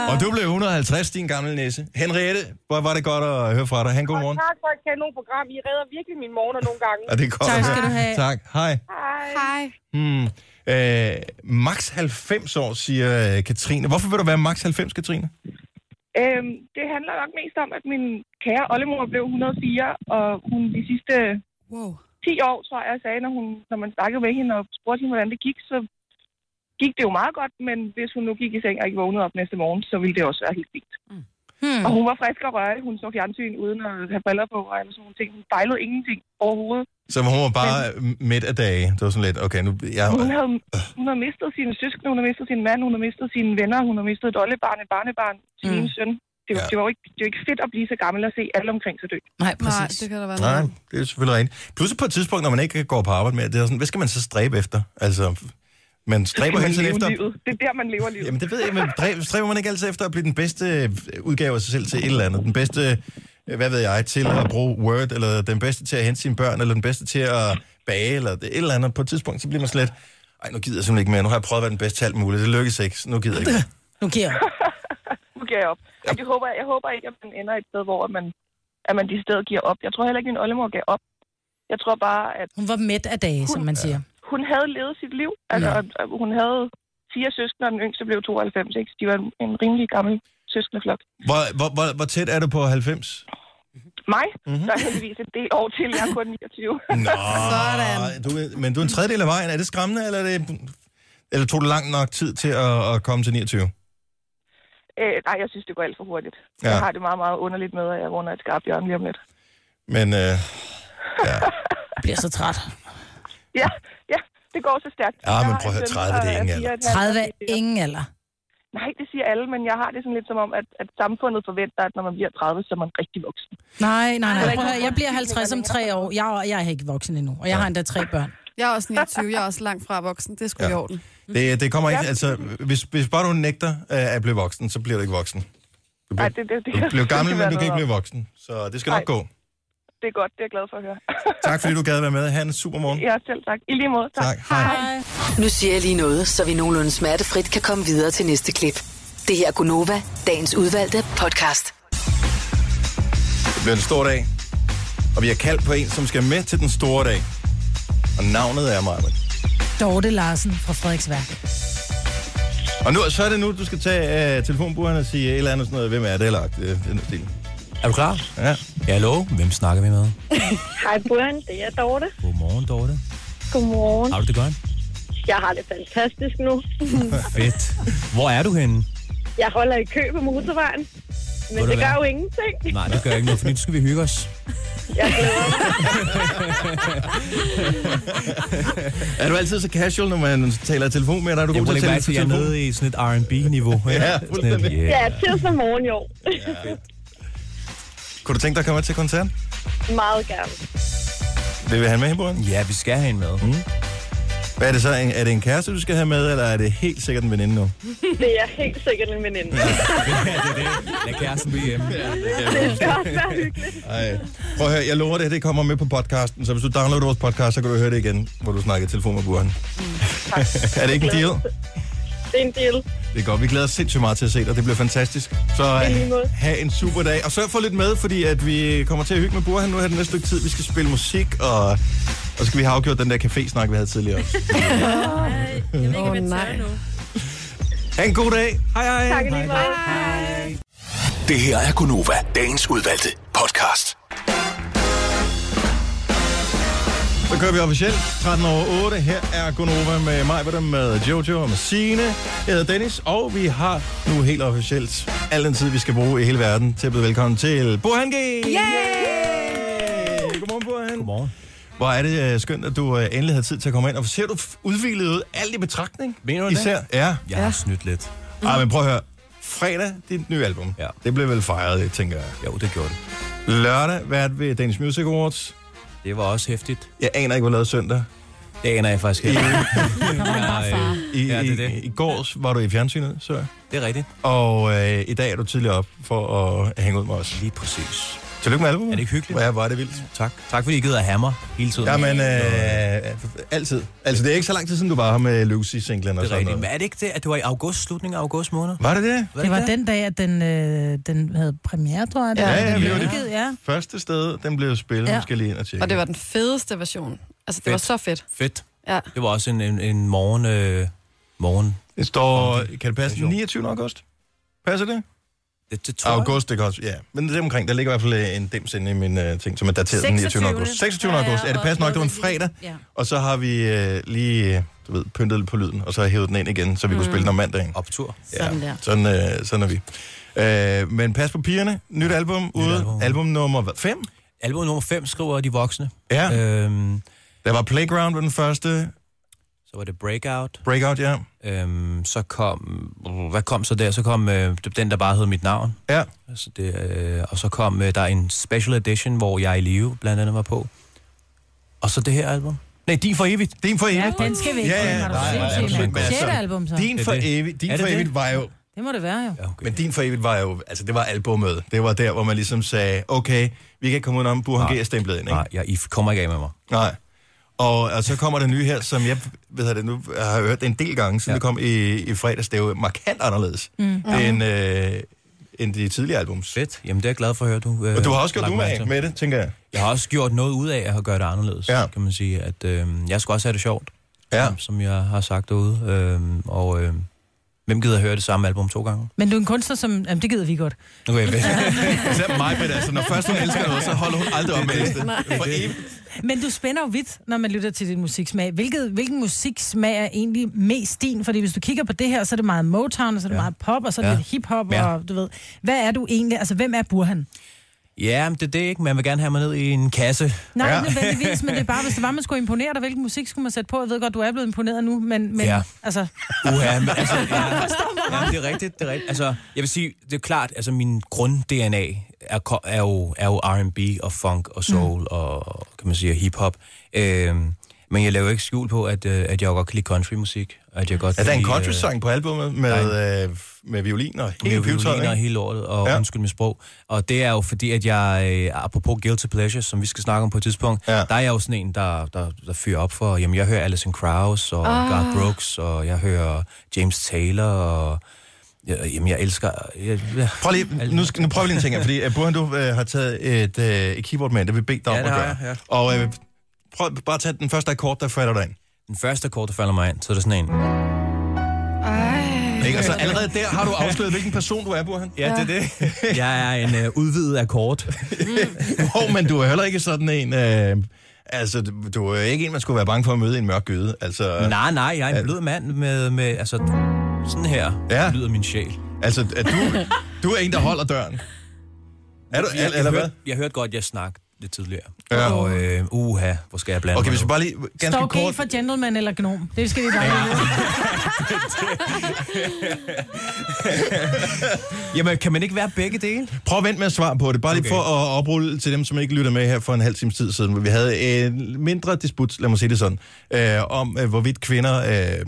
S1: Og du blev 150, din gamle næse. Henriette, hvor var det godt at høre fra dig. Han, god
S8: Og
S1: morgen.
S8: tak for et kanonprogram. I redder virkelig mine morgener nogle gange.
S1: Og det er godt
S3: Tak
S1: at
S3: skal
S1: høre.
S3: du have.
S1: Tak. Hej.
S8: Hej.
S4: Hej.
S1: Hmm. Øh, max 90 år, siger øh, Katrine. Hvorfor vil du være max 90, Katrine?
S8: Øhm, det handler nok mest om, at min kære oldemor blev 104, og hun de sidste
S4: Wow.
S8: 10 år, tror jeg, sagde, når, hun, når man snakkede med hende og spurgte hende, hvordan det gik, så gik det jo meget godt, men hvis hun nu gik i seng og ikke vågnede op næste morgen, så ville det også være helt fint. Og
S3: Hmm.
S8: hun var frisk og rørlig. Hun så fjernsyn uden at have briller på og alle sådan nogle ting. Hun fejlede ingenting overhovedet.
S1: Så hun var bare øh, midt af dage. Det var sådan lidt, okay, nu... Jeg,
S8: Hun, havde, hun har mistet sine søskende, hun har mistet sin mand, hun har mistet sine venner, hun har mistet et oldebarn, et barnebarn, sin
S3: Mm.
S8: mm. søn. Det
S1: Ja.
S8: var, ja. det, var jo ikke, det var ikke fedt at blive så gammel og se alle omkring sig dø.
S3: Nej,
S4: Nej,
S3: præcis.
S4: det kan der være
S1: Nej,
S4: noget.
S1: det er selvfølgelig rigtigt. Pludselig på et tidspunkt, når man ikke går på arbejde mere, det er sådan, hvad skal man så stræbe efter? Altså, man stræber
S8: (laughs) Man
S1: hele tiden
S8: lever
S1: efter...
S8: livet. Det er der, man lever livet.
S1: Jamen det ved jeg, men dræ- stræber man ikke altid efter at blive den bedste øh, udgave af sig selv til et eller andet? Den bedste, øh, hvad ved jeg, til at bruge Word, eller den bedste til at hente sine børn, eller den bedste til at bage, eller det, et eller andet. På et tidspunkt, så bliver man slet, ej, nu gider jeg simpelthen ikke mere. Nu har jeg prøvet at være den bedste til alt muligt. Det lykkes ikke. så Nu gider
S8: (laughs)
S1: jeg ikke.
S3: Nu giver jeg. op.
S8: Nu giver jeg op. Ej, det håber jeg, jeg håber ikke, at man ender et sted, hvor man, at man de steder giver op. Jeg tror heller ikke, min oldemor gav op. Jeg tror bare, at
S3: Hun var mæt af dage, som man siger.
S8: hun havde levet sit liv. Altså,
S3: Ja.
S8: ja. hun havde fire søskende, og den yngste blev 92. Ikke? Så De var en, en rimelig gammel søskendeflok.
S1: Hvor, hvor, hvor, hvor tæt er du på 90?
S8: Mig,
S1: Mhm.
S8: mm-hmm. der er heldigvis en del år til, jeg er kun 29.
S1: (laughs) Nå,
S4: Sådan.
S1: Du, er- men du er en tredjedel af vejen. Er det skræmmende, eller, er det, eller tog det langt nok tid til at, at komme til 29?
S8: Øh, nej, jeg synes, det går alt for hurtigt.
S1: Ja.
S8: Ja. Jeg har det meget, meget underligt med, at jeg runder et skarpt hjørne lige om lidt.
S1: Men øh,
S3: Jeg bliver så træt.
S8: Ja, ja, det går så stærkt.
S1: Ja, men
S8: Jeg har
S1: prøv at høre,
S8: en søn,
S1: 30, det er
S8: der
S1: ingen alder.
S8: fire og et halvt,
S3: 30 er
S8: og det er-
S3: ingen alder.
S8: Nej, det siger alle, men jeg har det sådan lidt som om, at, at samfundet forventer, at når man bliver 30, så er man rigtig voksen.
S3: Nej, nej, nej.
S8: Ej,
S3: Prøv at høre, jeg bliver
S8: undskyld,
S3: 50 om
S8: Nicolina.
S3: tre år. Jeg, er- jeg er ikke voksen endnu, og jeg har endda tre børn.
S4: Jeg er også 29, jeg er også langt fra voksen. Det skulle
S1: Ja.
S4: ja. i orden.
S1: det, det kommer ikke... Altså, hvis, hvis bare du nægter øh, at blive voksen, så bliver du ikke voksen. Du
S8: Nej,
S1: bliver,
S8: det, det, det,
S1: Du blev gammel,
S8: det
S1: men
S8: være
S1: du kan ikke
S8: noget
S1: blive voksen. Så det skal nok
S8: Nej.
S1: gå.
S8: om. Det er godt, det er jeg glad for at høre. (laughs)
S1: Tak fordi du gad være med. Ha' en super morgen.
S8: ja, selv tak. I lige måde.
S1: Tak. Hej.
S6: Nu siger jeg lige noget, så vi nogenlunde smertefrit kan komme videre til næste klip. Det her er Gunova, dagens udvalgte podcast.
S1: Det bliver en stor dag. Og vi har kaldt på en, som skal med til den store dag. Og navnet er Marvin.
S3: Dorte Larsen fra Frederiksværk.
S1: Og nu, så er det nu, du skal tage uh, telefonbordene og sige et eller andet sådan noget. Hvem er det, eller uh, den stil.
S10: Er du klar?
S1: Ja.
S10: Ja, hallo. Hvem snakker vi med?
S8: Hej, Brian. Det er Dorte.
S10: Godmorgen, Dorte.
S8: Godmorgen.
S10: Har du det godt?
S8: Jeg har det fantastisk nu.
S4: (laughs)
S10: Fedt. Hvor er du henne?
S8: Jeg holder i kø på motorvejen.
S10: Ved du det gør hvad? jo
S8: ingenting. (laughs)
S10: Nej, det gør jeg ikke noget, for nu skal vi hygge os.
S8: Jeg glæder mig.
S1: Er du altid så casual, når man taler i telefon med dig? Du
S10: Jeg
S1: god
S10: må
S1: til at
S10: ikke være,
S1: tale
S10: at
S1: i
S10: jeg er
S1: telefon?
S10: nede i sådan et
S1: (laughs)
S10: R&B-niveau.
S1: Ja, fuldstændig.
S8: Ja, tirsdag morgen, jo.
S1: Kunne du tænke dig at komme med til koncert?
S8: Meget gerne.
S1: Vil vi have med hende,
S10: Ja, vi skal have en med.
S1: Mm. Hvad er det så? En- Er det en kæreste, du skal have med, eller er det helt sikkert en veninde nu?
S8: Det er helt sikkert en veninde.
S10: Lad kæresten blive hjemme.
S8: (laughs) Det skal også være hyggeligt.
S1: Ej. Prøv at høre, jeg lover det, det kommer med på podcasten, så hvis du downloader vores podcast, så kan du høre det igen, hvor du snakker i telefon med Burhan. (laughs) er det ikke en deal?
S8: Det er en deal.
S1: Det er godt. Vi glæder os sindssygt meget til at se dig. Det bliver fantastisk. Så
S8: I lige måde.
S1: øh, have en super dag. Og sørg for lidt med, fordi at vi kommer til at hygge med Burhan nu her den næste stykke tid. Vi skal spille musik, og, og så skal vi have afgjort den der café-snak, vi havde tidligere også.
S2: Jeg ved ikke, om jeg
S4: Åh,
S2: tør
S4: nej.
S2: nu.
S1: Ha' en god dag. Hej hej.
S8: Tak i lige måde.
S5: Det her er Gunova, dagens udvalgte podcast.
S1: Så kører vi officielt 13 over 8. Her er Gunova med mig, hvor der med Jojo og med Signe. Jeg hedder Dennis, og vi har nu helt officielt al den tid, vi skal bruge i hele verden til at byde velkommen til Burhan G. Yay! Godmorgen, Burhan.
S10: Godmorgen.
S1: Hvor er det øh, skønt, at du øh, endelig havde tid til at komme ind. Og ser du f- udviklet ud, alt i betragtning.
S10: Mener du det?
S1: Især, ja.
S10: Jeg har snydt lidt.
S1: Ej, men prøv at høre. Fredag, dit nye album.
S10: Ja.
S1: Det blev vel fejret, tænker jeg.
S10: Jo, det gjorde det.
S1: Lørdag, vært ved Danish Music Awards.
S10: Det var også hæftigt.
S1: Jeg aner ikke, hvad jeg lavede søndag.
S10: Det aner jeg faktisk
S1: I,
S10: ikke.
S2: (laughs) Bare
S10: Jeg,
S2: far.
S10: øh,
S1: i,
S10: Ja, det er
S1: i,
S10: det.
S1: I går var du i fjernsynet, så jeg.
S10: det er rigtigt.
S1: Og øh, i dag er du tidligere op for at hænge ud med os.
S10: Lige præcis.
S1: Tillykke med albumet.
S10: Er det ikke hyggeligt?
S1: Ja, hvor er det vildt.
S10: Tak. Tak fordi I gider at have mig hele tiden.
S1: Jamen,
S10: det
S1: øh, altid. Altså, det er ikke så lang tid siden, du var her med Lucy-singlen og
S10: er
S1: sådan
S10: rigtigt. Men
S1: noget.
S10: er det ikke det, at det var i august, slutningen af august måned?
S1: Var det det?
S3: Det var den dag, at den, øh, den havde premiere, tror jeg.
S4: Ja,
S3: Den
S1: ja,
S3: blev
S1: vi var det.
S3: udgivet, Ja.
S1: Første sted, den blev spillet. Ja.
S4: Ja.
S1: Nu skal jeg lige ind og tjekke.
S4: Og det var den fedeste version. Altså, det var
S10: Fedt.
S4: så fedt.
S10: Fedt.
S4: Ja.
S10: Det var også en, en, en morgen... Øh, morgen.
S1: Det står, kan det passe, den
S10: Jo.
S1: 29. august? Passer det?
S10: Det, det tror jeg.
S1: August, det kan også, ja. Men det er omkring, der ligger i hvert fald øh, en dims inde i min uh, ting, som er dateret den 29. august. 26.
S2: Ja, ja,
S1: august, ja, det
S2: og
S1: passer nok, det var en
S2: noget, vi-
S1: fredag.
S2: Ja.
S1: Og så har vi øh, lige, øh, du ved, pyntet lidt på lyden, og så har jeg hævet den ind igen, så vi mm. kunne spille den om mandagen.
S10: Optur.
S2: Sådan der.
S1: Sådan, øh, sådan er vi. Øh, men pas på pigerne. Nyt album Nyt ude. Album,
S10: album.
S1: album nummer 5.
S10: Album nummer 5 skriver de voksne.
S1: Ja. Øh.
S10: Øhm,
S1: Der var Playground ved den første.
S10: så var det Breakout.
S1: Breakout, ja.
S10: Øhm, så kom... Hvad kom så der? Så kom øh, den, der bare hed mit navn.
S1: Ja.
S10: Altså det, øh, og så kom øh, der en special edition, hvor jeg i live blandt andet var på. Og så det her album. Nej, Din for evigt.
S1: Din for
S3: ja,
S1: evigt.
S3: den skal vi ikke.
S1: Ja, ja,
S3: Den har du
S1: nej, nej,
S3: sindssygt,
S1: absolut.
S3: mand.
S1: Men altså,
S3: Sjette album, så.
S1: Din for
S10: Det er det.
S1: evigt. Din
S10: Er det
S1: for
S10: det?
S1: evigt var jo
S3: Det må det være, jo.
S10: Ja, okay.
S1: Men din for evigt var jo, altså det var albumet. Det var der, hvor man ligesom sagde, okay, vi kan ikke komme udenom, Burhan G
S10: Nej.
S1: er stemplet ind, ikke?
S10: Nej, jeg, I kommer ikke af med mig.
S1: Nej. Og, og så kommer der nye her, som jeg ved jeg det, nu har hørt en del gange, siden
S10: Ja.
S1: ja. det kom i, i fredags. Det er jo markant anderledes mm. end, øh, end de tidligere albums.
S10: Fedt. Jamen, det er jeg glad for at høre, du... Øh,
S1: Og du har også gjort
S10: lagt mærke
S1: umage
S10: til.
S1: med det, tænker jeg.
S10: Jeg har også gjort noget ud af at gøre det anderledes,
S1: Ja.
S10: ja. kan man sige. At, øh, jeg skulle også have det sjovt,
S1: Ja.
S10: som- som jeg har sagt derude. Øh, og øh, hvem gider at høre det samme album to gange?
S3: Men du er en kunstner, som... Jamen, det gider vi godt.
S10: Nu er jeg væk.
S1: (laughs) Især mig, Britt, altså når først hun elsker noget, så holder hun aldrig op med det. For evigt.
S3: Men du spænder jo vidt, når man lytter til din musiksmag. Hvilket, hvilken musiksmag er egentlig mest din? Fordi hvis du kigger på det her, så er det meget Motown, og så er det ja. meget pop, og så er det
S10: Ja.
S3: ja. lidt hiphop,
S10: Ja.
S3: ja. og du ved... Hvad er du egentlig? Altså, hvem er Burhan?
S10: ja, men det er det ikke. Man vil gerne have mig ned i en kasse.
S3: Nej,
S1: Ja.
S3: ja. nødvendigvis, men det er bare, hvis det var, man skulle imponere dig, hvilken musik skulle man sætte på? Jeg ved godt, du er blevet imponeret nu, men, men ja.
S10: Ja.
S3: altså,
S10: Uha, men altså... Ja, ja, det er rigtigt, det er rigtigt. Altså, jeg vil sige, det er klart, altså min grund-DNA er, ko- er, jo, er jo R&B og funk og soul mm. og, kan man sige, og hip-hop. Øhm, men jeg laver ikke skjul på, at, øh, at jeg godt kan lide countrymusik. At jeg godt
S1: Er der
S10: kan
S1: en
S10: lide, øh,
S1: country-sang på albumet med, øh, med violin og
S10: med
S1: hele pivetøjet,
S10: violiner
S1: ikke?
S10: hele året, og
S1: Ja.
S10: ja. undskyld mit sprog. Og det er jo fordi, at jeg, øh, apropos Guilty Pleasure, som vi skal snakke om på et tidspunkt,
S1: Ja.
S10: ja. der er jeg jo sådan en, der, der, der fyrer op for, jamen jeg hører Alison Krauss og ah. Garth Brooks, og jeg hører James Taylor, og ja, jamen jeg elsker... Jeg, jeg,
S1: Prøv lige, nu, skal, nu prøver vi lige en ting her, fordi uh, Burhan, du øh, har taget et, øh, et keyboard med, det vil bede dig om
S10: Ja,
S1: at
S10: det har
S1: gøre.
S10: jeg, ja.
S1: Og øh, prøv bare at tage den første akkord, der falder dig ind.
S10: den første kort, der falder mig ind, så er det sådan en...
S1: Ikke? Altså, allerede der har du afsløret, hvilken person du er, Burhan.
S10: Ja, det er
S1: (laughs)
S10: det. jeg er en øh, udvidet akkord.
S1: Jo, Mm. men du er heller ikke sådan en... Øh, altså, du er ikke en, man skulle være bange for at møde i en mørk gyde. Altså,
S10: Nej, nej, jeg er en blød mand med, med altså, sådan her
S1: Ja.
S10: ja. lyder min sjæl.
S1: altså at du, du er en, der holder døren. Er du,
S10: Jeg,
S1: eller,
S10: jeg,
S1: eller hvad?
S10: hørte, jeg hørte godt, jeg snak. lidt tidligere.
S1: Ja.
S10: Og øh, uha, hvor skal jeg blande
S1: Okay,
S10: mig
S1: hvis vi
S10: nu?
S1: bare lige... Ganske
S3: Står
S1: kort...
S3: G for gentleman eller gnom? Det skal vi bare lige vide.
S10: (laughs) Jamen, kan man ikke være begge dele?
S1: Prøv at vente med at svare på det. Bare lige okay. for at oprulle til dem, som ikke lytter med her for en halv times tid siden. hvor Vi havde en mindre disput, lad mig sige det sådan, øh, om øh, hvorvidt kvinder øh,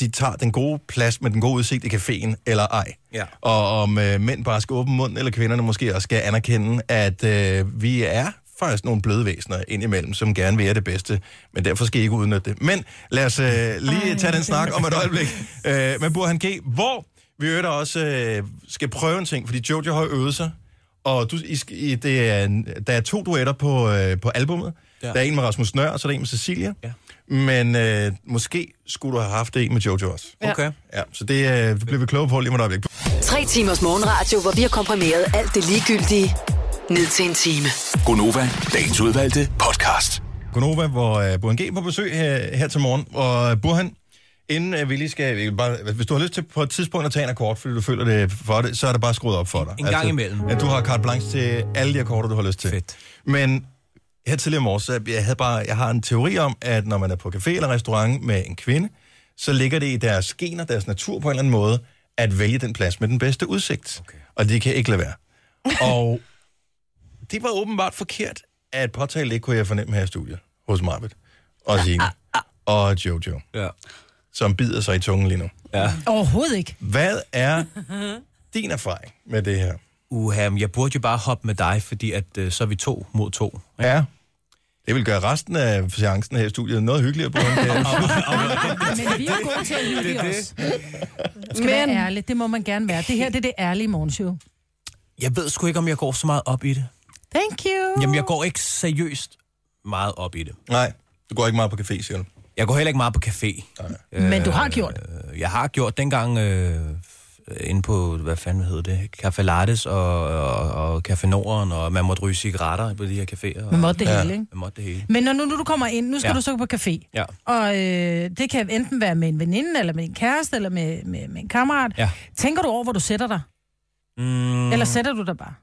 S1: de tager den gode plads med den gode udsigt i caféen eller ej.
S10: Ja.
S1: Og om øh, mænd bare skal åbne mund, eller kvinderne måske også skal anerkende, at øh, vi er faktisk nogle bløde væsener indimellem, som gerne vil jer det bedste, men derfor skal I ikke udnytte det. Men lad os øh, lige Ej, tage den snak om et øjeblik øh, med Burhan G, hvor vi øvrigt også øh, skal prøve en ting, fordi Jojo har øvet sig, og du, I, skal- I, det er, en- der er to duetter på, øh, på albummet. Ja.
S10: Ja.
S1: Der er en med Rasmus Nør, og så er der en med Cecilia. Ja. Men øh, måske skulle du have haft det en med Jojo også.
S10: Okay.
S1: Ja, så det, øh, det bliver vi kloge på lige om et øjeblik.
S6: Tre timers morgenradio, hvor vi har komprimeret alt det ligegyldige ned til en time.
S5: Gonova, dagens udvalgte podcast.
S1: Gonova, hvor uh, Burhan G er på besøg her, her til morgen. Og uh, Burhan, inden uh, vi lige skal... vi kan Bare, hvis du har lyst til på et tidspunkt at tage en akkord, fordi du føler det for det, så er det bare skruet op for dig. Altså,
S10: En gang imellem.
S1: At du har carte blanche til alle de akkorder, du har lyst til.
S10: Fedt.
S1: Men her tidligere i morges, så jeg, havde bare, jeg har en teori om, at når man er på café eller restaurant med en kvinde, så ligger det i deres gener, deres natur på en eller anden måde, at vælge den plads med den bedste udsigt. Okay. Og de kan ikke lade
S10: (laughs)
S1: være. Og det var åbenbart forkert at påtale det, kunne jeg fornemme her i studiet hos Marvitt og Signe og Jojo,
S10: Ja.
S1: som bider sig i tungen lige nu.
S10: ja.
S3: Overhovedet ikke.
S1: Hvad er din erfaring med det her?
S10: Uha, men jeg burde jo bare hoppe med dig, fordi at, øh, så er vi to mod to.
S1: Ja. Det vil gøre resten af seancen her i studiet noget hyggeligere på en
S3: Men vi er gode til at hygge os. Du skal være ærlig. Det må man gerne være. Det her det er det ærlige morgenshow.
S10: Jeg ved sgu ikke, om jeg går så meget op i det.
S3: Thank you.
S10: Jamen, jeg går ikke seriøst meget op i det.
S1: Nej, du går ikke meget på café, siger du.
S10: Jeg går heller ikke meget på café.
S3: Men du har gjort det.
S10: Øh, Jeg har gjort dengang øh, inde på, hvad fanden hed det, Café Lattes og, og, og Café Norden, og man måtte ryge cigaretter på de her caféer. og-
S3: Man måtte det hele, ikke?
S10: Man måtte det hele.
S3: Men når nu, nu du kommer ind, nu skal
S10: Ja.
S3: ja. du så på café.
S10: Ja.
S3: Og øh, det kan enten være med en veninde, eller med en kæreste, eller med, med, med en kammerat.
S10: Ja.
S3: Tænker du over, hvor du sætter dig?
S10: Mm,
S3: Eller sætter du dig bare?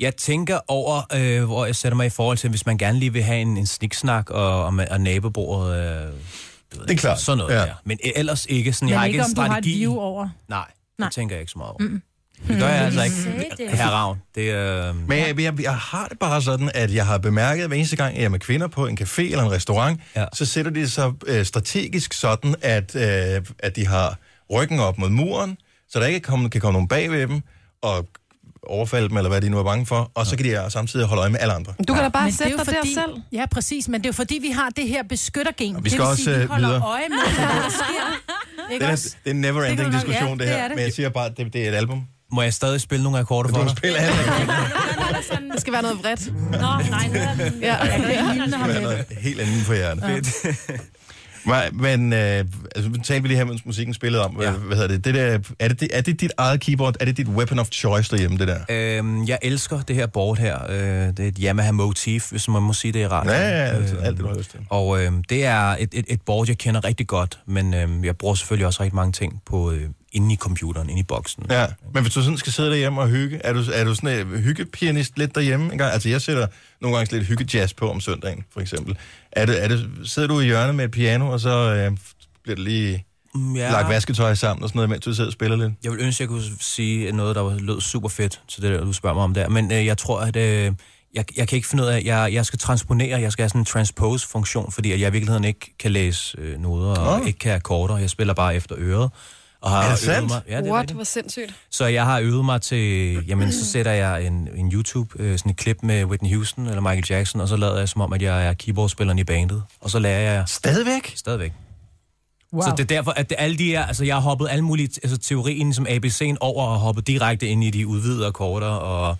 S10: jeg tænker over, øh, hvor jeg sætter mig i forhold til, hvis man gerne lige vil have en, en sniksnak og, og, og nabobordet. Øh, du ved
S1: Det er klart.
S10: Sådan noget
S1: Ja.
S10: ja. der. Men e- ellers ikke sådan, jeg har
S3: Men
S10: ikke,
S3: ikke
S10: en
S3: om du har et
S10: strategi.
S3: view over.
S10: Nej,
S3: Nej.
S10: det tænker jeg ikke så meget over. Mm. Det gør jeg altså ikke. Herre Ravn, det er... Øh,
S1: Men jeg, jeg, jeg har det bare sådan, at jeg har bemærket, at hver eneste gang, jeg er med kvinder på en café eller en restaurant, ja.
S10: Ja.
S1: så sætter de sig øh, strategisk sådan, at, øh, at de har ryggen op mod muren, så der ikke komme, kan komme nogen bag ved dem og overfalde dem, eller hvad de nu er bange for, og så kan de samtidig holde øje med alle andre.
S4: Du kan da bare
S3: Men det er
S4: sætte
S3: jo
S4: dig
S3: fordi,
S4: der selv.
S3: Ja, præcis. Men det er jo fordi, vi har det her beskyttergen.
S1: vi skal
S3: det vil
S1: også,
S3: sige, vi
S1: øh,
S3: holder
S1: videre.
S3: øje med, hvad
S1: (laughs)
S3: der sker. Ikke
S1: Det er,
S3: også?
S1: det er en
S3: Det kan
S1: never-ending
S3: du nok-
S1: diskussion,
S3: ja,
S1: det
S3: det
S1: her.
S3: er det.
S1: Men jeg siger bare, at det, det er et album.
S10: Må jeg stadig spille nogle akkorder for
S1: Du
S10: dig?
S1: spiller alt,
S4: Det skal være noget vredt.
S2: Nå, nej, nu er den...
S4: Ja.
S1: det er noget helt andet på hjernen. (laughs) Nej, men øh, altså, nu talte vi lige her, mens musikken spillede om, ja.
S10: Ja.
S1: hvad hedder det, det der, er, det, er det dit eget keyboard, er det dit weapon of choice derhjemme, det der?
S10: Øhm, jeg elsker det her board her. Øh, det er et Yamaha Motif, hvis man må sige det i radioen.
S1: Ja, ja, ja, altså, alt det, du har lyst til.
S10: Og øh, det er et, et, et board, jeg kender rigtig godt, men øh, jeg bruger selvfølgelig også rigtig mange ting på øh, inde i computeren, inde i boksen.
S1: Ja, men hvis du sådan skal sidde derhjemme og hygge, er du, er du sådan en hyggepianist lidt derhjemme engang? Altså, jeg sætter nogle gange lidt hyggejazz på om søndagen, for eksempel. Er det, er det, sidder du i hjørnet med et piano, og så øh, bliver det lige
S10: Mm,
S1: ja. lagt vasketøj sammen og sådan noget, mens du sidder og spiller lidt?
S10: Jeg vil ønske, at jeg kunne sige noget, der var- lød super fedt til det, der, du spørger mig om der. Men øh, jeg tror, at øh, jeg, jeg kan ikke finde ud af, at jeg, jeg skal transponere, jeg skal have sådan en transpose-funktion, fordi at jeg i virkeligheden ikke kan læse øh, noder og
S1: Nå.
S10: ikke kan akkorder. Jeg spiller bare efter øret. Og har
S1: Er det
S10: øvet
S1: sandt?
S10: Mig. Ja, det er
S11: What?
S10: rigtigt.
S11: Hvor sindssygt.
S10: Så jeg har øvet mig til, jamen så sætter jeg en, en YouTube, øh, sådan et klip med Whitney Houston eller Michael Jackson, og så lader jeg som om, at jeg er keyboardspilleren i bandet. Og så lærer jeg
S1: Stadigvæk?
S10: stadigvæk.
S3: Wow.
S10: Wow. Så det er derfor, at det, alle de her, altså jeg har hoppet alle mulige, altså teorien som ABC'en over og hoppet direkte ind i de udvidede akkorder, og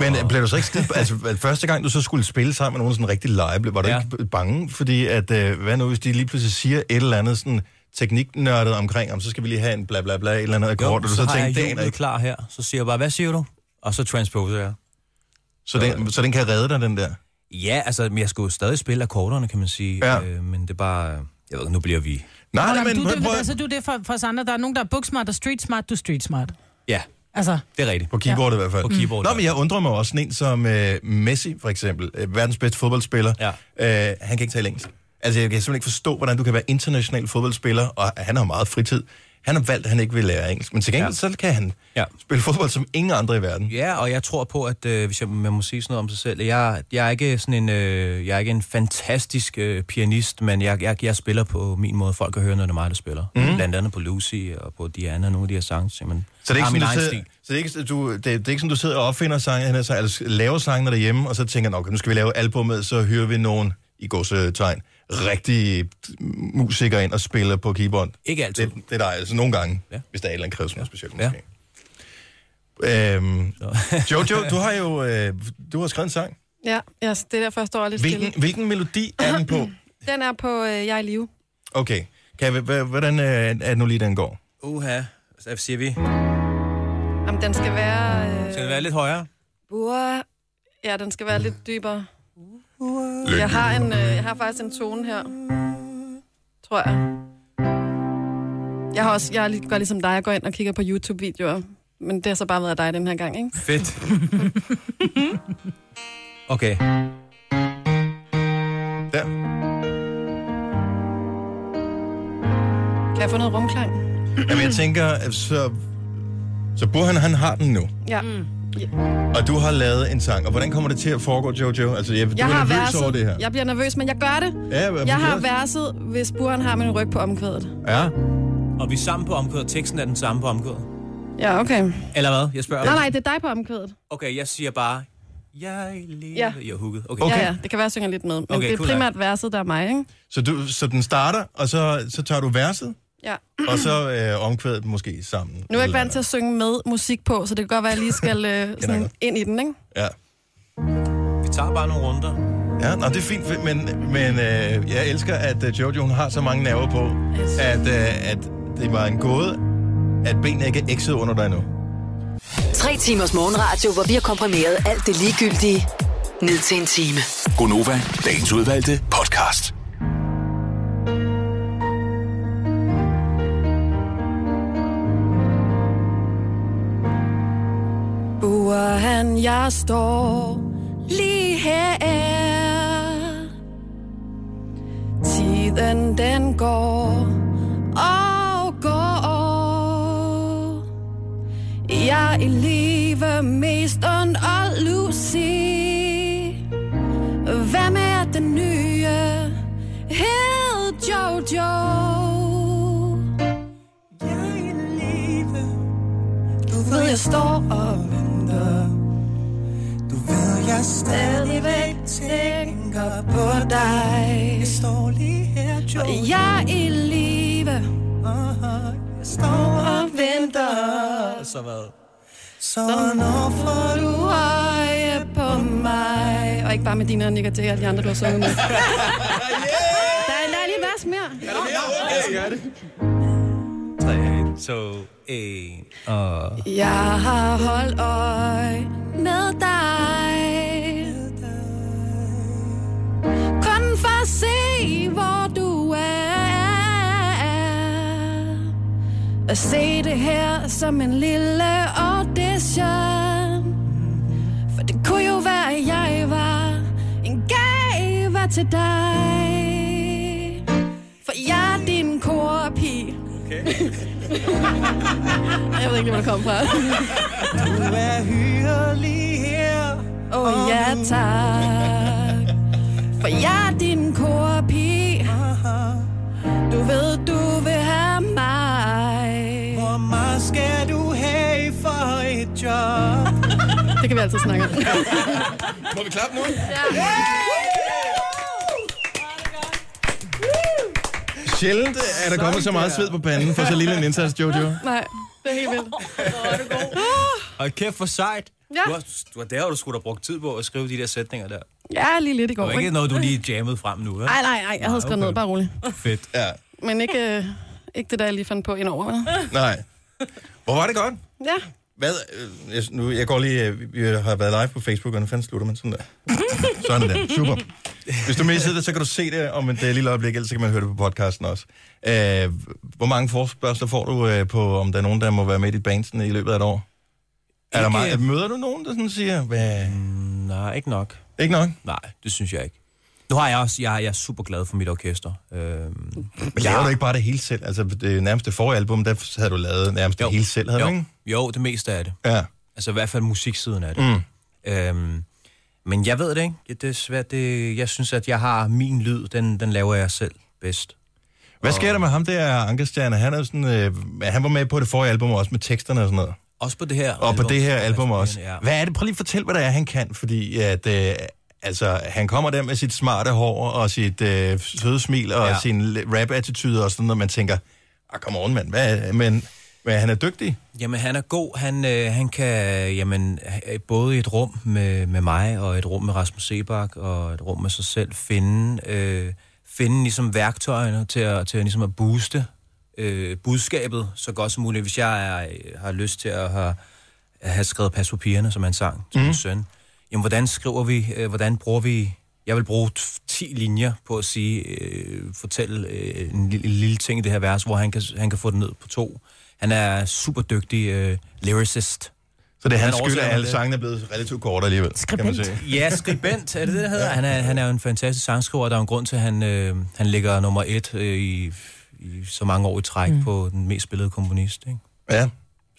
S1: Men oh. blev du så ikke stille, altså første gang du så skulle spille sammen med nogen sådan rigtig live, blev- var du ja.
S10: Ja.
S1: ikke bange? Fordi at, øh, hvad nu hvis de lige pludselig siger et eller andet sådan tekniknørdet omkring, om så skal vi lige have en bla bla bla, et eller andet akkord, og du så,
S10: så har jeg
S1: tænkte, den er
S10: hjulet
S1: ikke.
S10: klar her. Så siger jeg bare, hvad siger du? Og så transposer jeg.
S1: Så den, så den kan redde dig, den der.
S10: Ja, altså, men jeg skulle jo stadig spille akkorderne, kan man sige.
S1: Ja.
S10: Øh, men det er bare, jeg ved, ikke, nu bliver vi...
S1: Nej,
S3: Nå,
S1: nej,
S3: men
S1: men
S3: du, altså-
S1: prøv,
S3: det,
S1: prøv,
S3: altså, du er det for, for os andre. Der er nogen, der er book smart og street smart. Du er street smart.
S10: Ja,
S3: Altså,
S10: Det er rigtigt.
S1: På keyboardet ja. i hvert fald.
S10: På keyboardet,
S1: Nå, men jeg undrer mig også, sådan en som øh, Messi, for eksempel, øh, verdens bedste fodboldspiller, ja. øh, han kan ikke tale engelsk. Altså, jeg kan simpelthen ikke forstå, hvordan du kan være international fodboldspiller, og han har meget fritid. Han har valgt, at han ikke vil lære engelsk, men til gengæld, ja. så kan han ja. spille fodbold som ingen andre i verden.
S10: Ja, og jeg tror på, at øh, hvis jeg man må sige sådan noget om sig selv, jeg, jeg er ikke sådan en, øh, jeg er ikke en fantastisk øh, pianist, men jeg, jeg, jeg spiller på min måde. Folk kan høre, når det er mig, der spiller.
S1: Mhm.
S10: Mm. Blandt andet på Lucy og på Diana, nogle af de her sange. Så, men,
S1: Så det er
S10: har
S1: ikke
S10: min egen
S1: sådan, du sidder,
S10: stil.
S1: så det er ikke, sådan, du, det, det er ikke sådan, du sidder og opfinder sange, han er så, altså, laver sangene derhjemme, og så tænker, "Nå, okay, nu skal vi lave albumet, så hyrer vi nogen i gåsetegn rigtige musikere ind og spiller på keyboard.
S10: Ikke altid.
S1: Det, det er dig, altså nogle gange, ja. hvis der er et eller andet kræves noget specielt måske. Ja. Øhm, (laughs) Jojo, du har jo øh, du har skrevet en sang.
S4: Ja, ja, så det er derfor, jeg står lidt
S1: Hvilken,
S4: stille.
S1: hvilken melodi er den på?
S4: Den er på øh, Jeg er i live.
S1: Okay, kan, jeg- hva- hvordan øh, er det nu lige, den går?
S10: Uha, så siger vi.
S4: Jamen, den skal være... Øh,
S10: Skal det være lidt højere?
S4: bua. Ja, den skal være lidt dybere. Jeg har, en, øh, jeg har faktisk en tone her. Tror jeg. Jeg, har også, jeg lige- gør ligesom dig, jeg går ind og kigger på YouTube-videoer. Men det har så bare været dig den her gang, ikke?
S10: (laughs) Fedt. Okay.
S1: Der.
S4: Kan jeg få noget rumklang?
S1: Jamen, jeg tænker, øh, så, så Burhan, han har den nu.
S4: Ja. Mm.
S1: Og du har lavet en sang, og hvordan kommer det til at foregå, Jojo? Altså, jeg, du
S4: Jeg
S1: er
S4: har
S1: nervøs
S4: verset.
S1: over det her.
S4: Jeg bliver nervøs, men jeg gør det.
S1: Ja, hvad-
S4: jeg har
S1: hvad-
S4: verset, hvis buren har min ryg på omkvædet.
S1: Ja.
S10: Og vi er sammen på omkødet. Teksten er den samme på omkødet.
S4: Ja, okay.
S10: Eller hvad? Jeg spørger.
S4: Nej, nej, det er dig på omkvædet.
S10: Okay, jeg siger bare, jeg lever.
S4: Ja.
S10: Jeg er hooket. Okay.
S4: Okay. Ja, ja, det kan være, jeg synger lidt med. Men
S1: Okay,
S4: okay, det er
S1: cool,
S4: primært verset, der er mig, ikke?
S1: Så, du, så den starter, og så, så tager du verset,
S4: Ja.
S1: og så øh, omkvædet måske sammen.
S4: Nu er jeg ikke vant til at synge med musik på, så det kan godt være, at jeg lige skal øh,
S1: jeg
S4: sådan ind i den, ikke?
S1: Ja.
S10: Vi tager bare nogle runder.
S1: Ja, nå, det er fint, men, men øh, jeg elsker, at øh, Jojo hun har så mange nerver på, at, øh, at det var en gåde, at benene ikke er x'et under dig nu.
S6: Tre timers morgenradio, hvor vi har komprimeret alt det ligegyldige ned til en time.
S5: Gonova, dagens udvalgte podcast.
S4: Buer han, jeg står lige her. Tiden den går og går. Jeg er i live mest on og Lucy. Hvad med at den nye hed Jojo? Du ved, jeg står og venter. Du ved, jeg stadigvæk tænker på dig. Jeg står lige her, Jojo. Og jeg er i live. Jeg står og venter.
S10: Så hvad?
S4: Så når får du øje på mig? Og ikke bare med dine og Nick og Jay og de andre, du har sunget (laughs) med. Der er en dejlig vers mere. Er der mere?
S10: Okay. det. 3, 2, 1, og...
S4: Jeg har holdt øje med dig. Kun for at se, hvor du er. At se det her som en lille audition. For det kunne jo være, at jeg var en gave til dig. For jeg er din korpige. Jeg ved ikke, hvor det kom fra. Du er hyrelig her. (laughs) Åh oh, ja, tak. For jeg er din korpige. Du ved, du vil have mig. Hvor meget skal du have for et job? Det kan vi altid snakke om.
S1: Må vi klappe nu?
S12: (laughs)
S1: Sjældent er der kommet så meget sved på panden for så lille en indsats,
S4: (laughs)
S1: Jojo.
S4: Nej, det er helt vildt.
S10: Og kæft for sejt.
S4: Ja.
S10: Du har, du har, der har du skulle da brugt tid på at skrive de der sætninger der.
S4: Ja, lige lidt i
S10: Det
S4: går.
S10: var ikke noget, du lige jammede frem nu, vel?
S4: Nej, nej, nej. Jeg havde skrevet noget, bare roligt.
S1: Fedt. Ja.
S4: Men ikke, øh, ikke det, der jeg lige fandt på indover. vel?
S10: (laughs)
S1: Nej. Hvor var det godt?
S4: Ja.
S1: Hvad? øh, Jeg, nu, jeg går lige... øh, Vi har været live på Facebook, og nu fanden slutter man sådan der. Sådan der. Super. Hvis du missede det, så kan du se det om et øh, lille øjeblik, ellers så kan man høre det på podcasten også. Øh, hvor mange forspørgseler får du øh, på, om der er nogen, der må være med i dit band sådan, i løbet af et år? Er der meget, møder du nogen, der sådan siger, hvad...
S10: Mm, Nej, ikke nok.
S1: Ikke nok?
S10: Nej, det synes jeg ikke. Nu har jeg også, jeg, jeg er super glad for mit orkester. Øhm,
S1: Men laver du ikke bare det hele selv? Altså, det nærmeste forrige album, der havde du lavet nærmest jo. det hele selv, havde
S10: jo,
S1: du ikke?
S10: jo, det meste af det.
S1: Ja.
S10: Altså i hvert fald musiksiden af det. Mm. Øhm, men jeg ved det ikke. Det er svært. Det, jeg synes, at jeg har min lyd, den, den laver jeg selv bedst.
S1: Hvad sker der med ham der, Ankerstjerne? Han, er jo sådan, øh, han var med på det forrige album også, med teksterne og sådan noget.
S10: Også på det her
S1: Og på det her album også.
S10: Ja.
S1: Hvad er det? Prøv lige at fortæl, hvad det er, han kan. Fordi at, øh, altså, han kommer der med sit smarte hår og sit øh, søde smil og
S10: Ja.
S1: ja. sin rap-attitude og sådan noget. Man tænker, ah, come on, mand. Hvad, er- men, men han er dygtig.
S10: Jamen, han er god. Han, øh, han kan, jamen, øh, både i et rum med, med mig, og et rum med Rasmus Sebak, og et rum med sig selv, finde, øh, finde ligesom værktøjerne til at, til at, ligesom at booste øh, budskabet så godt som muligt. Hvis jeg er, øh, har lyst til at have, at have skrevet Pas på pigerne, som han sang
S1: Mhm.
S10: til mm. min søn, jamen, hvordan skriver vi, øh, hvordan bruger vi... Jeg vil bruge t- 10 linjer på at sige, øh, fortælle øh, en, lille, en lille ting i det her vers, hvor han kan, han kan få det ned på to. Han er super dygtig øh, lyricist.
S1: Så det
S10: Han
S1: er hans skyld,
S10: oversætter
S1: at alle
S10: det.
S1: sangene er blevet relativt korte alligevel. Skribent.
S10: Ja, skribent, er det det, der hedder? Han er, han er jo en fantastisk sangskriver, og der er jo en grund til, at han, øh, han ligger nummer et øh, i, i så mange år i træk mm. på den mest spillede komponist. Ikke?
S1: Ja.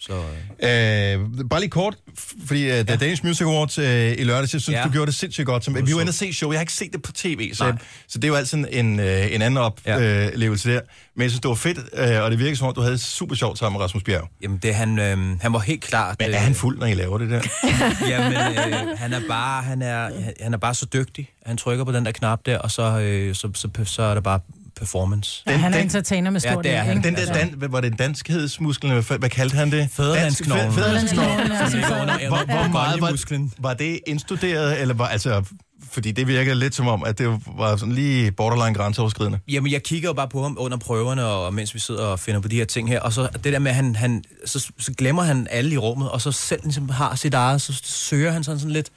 S10: Så, øh,
S1: Øh, bare lige kort, f- fordi uh, The Danish Music Awards øh, i lørdags, jeg synes,
S10: Ja.
S1: ja. du gjorde det sindssygt godt. Som, vi var inde og se show, jeg har ikke set det på tv, så,
S10: Nej.
S1: så det er jo altid en, øh, en anden oplevelse ja. der. Men jeg synes, det var fedt, øh, og det virker som om, du havde det super sjovt sammen med Rasmus Bjerg.
S10: jamen, det, er han, øh, han var helt klart...
S1: Men er han fuld, når I laver det der?
S10: (laughs) Jamen, øh, han, er bare, han, er, han- han er bare så dygtig. Han trykker på den der knap der, og så, øh, så, så, så er der bare performance.
S3: Den, han er entertainer med
S10: Ja,
S3: stort
S10: det er
S3: E,
S10: han.
S3: ikke?
S1: Den der,
S3: Altså.
S1: dan, var det danskhedsmusklen, hvad, f- hvad kaldte han det?
S10: Fædrelandsknoglen.
S1: Fæ- Fædrelandsknoglen.
S3: Fædrelandsknoglen, ja, som sådan.
S1: Hvor, hvor
S10: Ja.
S1: meget var, var det indstuderet, eller var, altså, fordi det virkede lidt som om, at det var sådan lige borderline grænseoverskridende.
S10: Jamen, jeg kigger jo bare på ham under prøverne, og mens vi sidder og finder på de her ting her, og så det der med, at han, han så, så glemmer han alle i rummet, og så selv ligesom har sit eget, så søger han sådan, sådan lidt,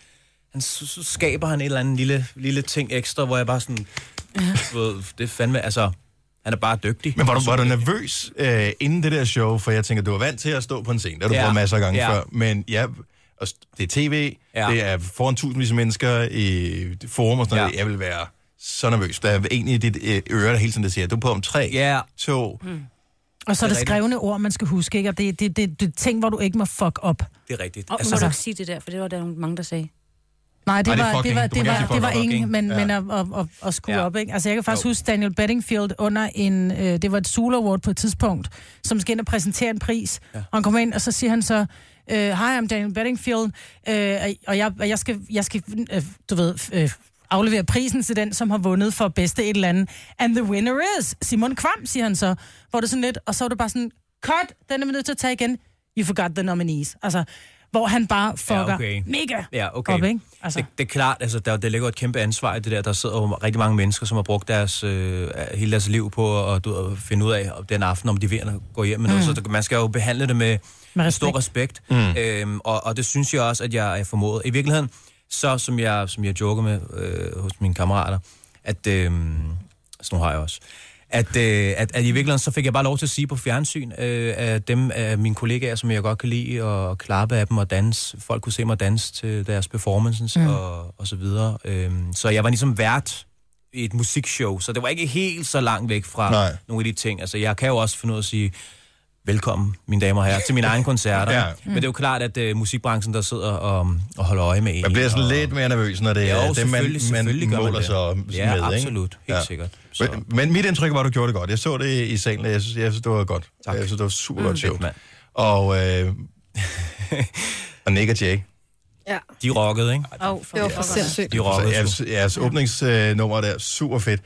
S10: han, så, så skaber han et eller andet lille, lille ting ekstra, hvor jeg bare sådan, du ved, det er fandme, altså, han er bare dygtig.
S1: Men var du, var du nervøs øh, inden det der show? For jeg tænker, du var vant til at stå på en scene. Det har du
S10: Ja.
S1: ja. prøvet masser af gange
S10: Ja.
S1: ja. før. Men ja, og s- det er tv,
S10: Ja.
S1: ja. det er foran tusindvis af mennesker i forum og sådan noget.
S10: Ja.
S1: Jeg vil være så nervøs. Der er en i dit øh, øre, der hele tiden der siger, du er på om tre,
S10: Ja.
S1: to.
S4: Mm.
S3: Og så er det
S10: rigtigt.
S3: skrevne ord, man skal huske, ikke? Og det er det, det, det, ting, hvor du ikke må fuck op.
S10: Det er rigtigt.
S2: Og altså, må du ikke sige det der, for det var der nogle- mange, der sagde.
S3: Nej,
S2: Ej,
S3: det
S2: det er
S3: var, det
S2: fucking.
S3: var,
S2: Du
S3: det
S2: må
S3: var,
S2: gerne sige
S3: det var
S2: fucking.
S3: ingen, men,
S2: Ja.
S3: men øh, at, at, at, at skrue
S2: Ja.
S3: op, ikke? Altså, jeg kan faktisk huske Daniel Bedingfield under en, øh, det var et Sula Award på et tidspunkt, som skal ind og præsentere en pris, ja. og han kommer ind, og så siger han så, øh, Hi, I'm Daniel Bedingfield, øh, og jeg, og jeg skal, jeg skal øh, du ved, øh, aflevere prisen til den, som har vundet for bedste et eller andet. And the winner is Simon Kvam, siger han så. Hvor det sådan lidt, og så er det bare sådan, cut, den er vi nødt til at tage igen. You forgot the nominees. Altså, hvor han bare fucker ja, okay. mega
S10: ja, okay.
S3: op, ikke?
S10: Altså. Det, det er klart, altså, der, der ligger jo et kæmpe ansvar i det der. Der sidder jo rigtig mange mennesker, som har brugt deres, øh, hele deres liv på at, du, at finde ud af om den aften, om de vil at gå hjem med mm. noget. Så der- man skal jo behandle det med,
S3: med
S10: respekt. stor respekt. Mm.
S3: Mm.
S10: Øhm, og, og det synes jeg også, at jeg er formået. I virkeligheden, så som jeg, som jeg joker med øh, hos mine kammerater, at... Øh, sådan nogle har jeg også. At, øh, at, at i virkeligheden, så fik jeg bare lov til at sige på fjernsyn, øh, at dem af mine kollegaer, som jeg godt kan lide, og klappe af dem og danse. Folk kunne se mig danse til deres performances mm.
S12: Mm.
S10: og, og så videre. Øhm, så jeg var ligesom vært i et musikshow, så det var ikke helt så langt væk fra
S1: Nej.
S10: nogle af de ting. Altså, jeg kan jo også finde ud af at sige, velkommen, mine damer og herrer, til mine egne koncerter.
S1: (laughs) Ja.
S10: ja. Men det er jo klart, at uh, musikbranchen, der sidder og, og holder øje med en.
S1: Man bliver sådan
S10: og...
S1: lidt mere nervøs, når det
S10: Jo,
S1: er dem, man,
S10: selvfølgelig- selvfølgelig
S1: man
S10: gør man
S1: måler
S10: det.
S1: sig om- med.
S10: Ja, absolut.
S1: Ikke?
S10: Helt sikkert.
S1: Så. Men mit indtryk var, at du gjorde det godt. Jeg så det i salen, og jeg synes, jeg synes det var godt. Tak. Jeg synes, det var super
S10: Mm.
S1: godt show. Og, øh, (laughs) og Nick og Jake.
S10: De rockede, ikke?
S2: Oh,
S11: Det var for sindssygt.
S10: De rockede.
S1: Så
S12: Altså,
S1: jeres, jeres åbningsnummer der, super fedt.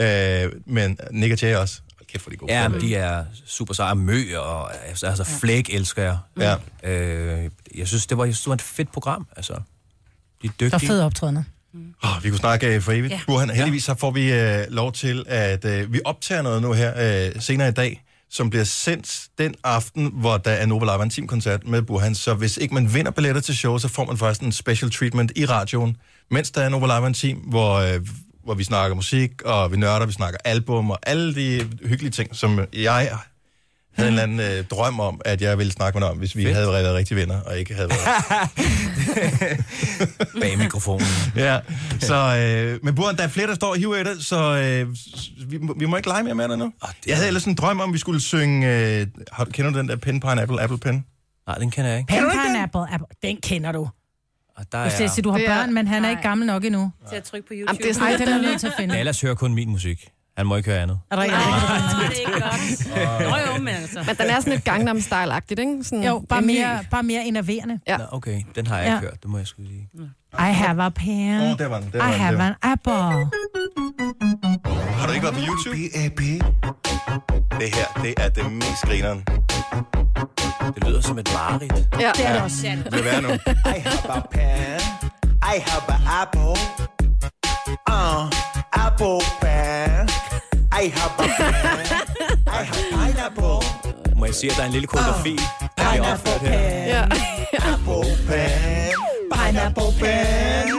S1: Øh, men Nick og Jay også. Hold kæft, hvor de er gode.
S10: Ja, men de er super seje. Mø og altså, altså Flæk elsker jeg.
S1: Ja.
S10: Øh, jeg synes, det var, jeg synes, det var et fedt program. Altså, de er dygtige.
S3: (laughs) Der er fede optrædener.
S1: Oh, vi kunne snakke øh, for evigt.
S3: Ja.
S1: Ja. Burhan, heldigvis så får vi øh, lov til, at øh, vi optager noget nu her øh, senere i dag, som bliver sendt den aften, hvor der er Nova Live Intim koncert med Burhan. Så hvis ikke man vinder billetter til show, så får man faktisk en special treatment i radioen, mens der er Nova Live Intim, hvor, øh, hvor vi snakker musik, og vi nørder, vi snakker album, og alle de hyggelige ting, som jeg havde en eller anden øh, drøm om, at jeg ville snakke med dig om, hvis vi Fedt. havde været rigtige venner, og ikke havde været...
S10: (laughs)
S1: (laughs) Bag mikrofonen. ja, så... Øh, men Burhan, der er flere, der står og hiver i det, så øh, s- vi, må- vi må ikke lege mere med Ah, det nu. Jeg havde ellers en drøm om, at vi skulle synge... Øh, har, du- kender du den der Pin Pineapple Apple Pin? Nej, den kender jeg ikke.
S3: Pen pineapple, apple. Den kender du.
S10: Og
S2: Ah,
S10: der
S3: Du siger, at du har
S10: Det
S3: børn, men han er ikke gammel nok endnu.
S2: Til at trykke på YouTube.
S3: Jamen, det er sådan lidt- Ej, den er nødt til at finde.
S10: Dallas hører kun min musik. Han må ikke høre andet.
S3: Er der
S10: (laughs)
S3: ikke
S2: det er ikke godt. Nå jo, men altså.
S11: Men den er sådan lidt Gangnam Style-agtigt, ikke? Sådan
S3: Jo, bare
S11: en
S3: mere, bare mere enerverende.
S11: Ja.
S10: Nå, okay, den har jeg ikke
S3: Ja.
S10: hørt. Det må jeg skulle sige.
S3: I have a pen.
S10: Åh, der var den, der var
S3: I
S10: den,
S3: have
S10: der var
S3: an apple.
S1: Har du ikke været på YouTube? Det her, det er det mest grineren. Det lyder som et mareridt.
S11: Ja.
S12: Altså, Det er det også, Jan.
S1: Lad være nu.
S12: I have a pen. I have a apple. Uh, apple pen. I have a pen. I have pineapple.
S10: Må jeg sige, at der er en lille koreografi, der bliver opført her?
S11: Ja.
S12: Apple pen. Pineapple pen.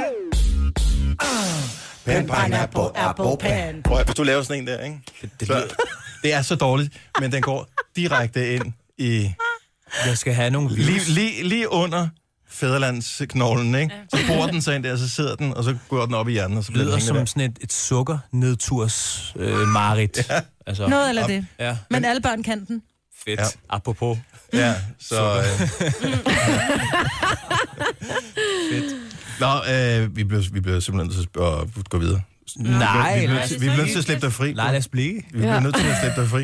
S1: Pen, pineapple, apple, pen. Prøv at, hvis du laver sådan en der, ikke? Det, det, så, det er så dårligt, men den går direkte ind i...
S10: Jeg skal have nogle
S1: Lige, lige, lige under fædrelandsknoglen, ikke? Så borer den sig ind der, så sidder den, og så går den op i hjernen, og så
S10: Det
S1: bliver
S10: lyder
S1: den hængende der.
S10: som sådan et, et sukkernedturs øh, marit. Ja. Altså,
S3: Noget eller det.
S10: Ja,
S3: Men alle børn kan
S11: (laughs)
S3: den.
S10: fedt. Ja. Apropos. (laughs)
S1: Ja, så... Øh... (laughs) Fedt. Nå, øh, vi, bliver, vi bliver simpelthen nødt til at sp- at gå videre.
S10: Nej,
S1: vi
S10: nej,
S1: bliver, vi
S10: det er
S1: bliver, vi bliver nødt
S10: så
S1: til at slippe dig fri.
S10: Nej, lad os blive.
S1: Vi bliver nødt til at slippe dig fri.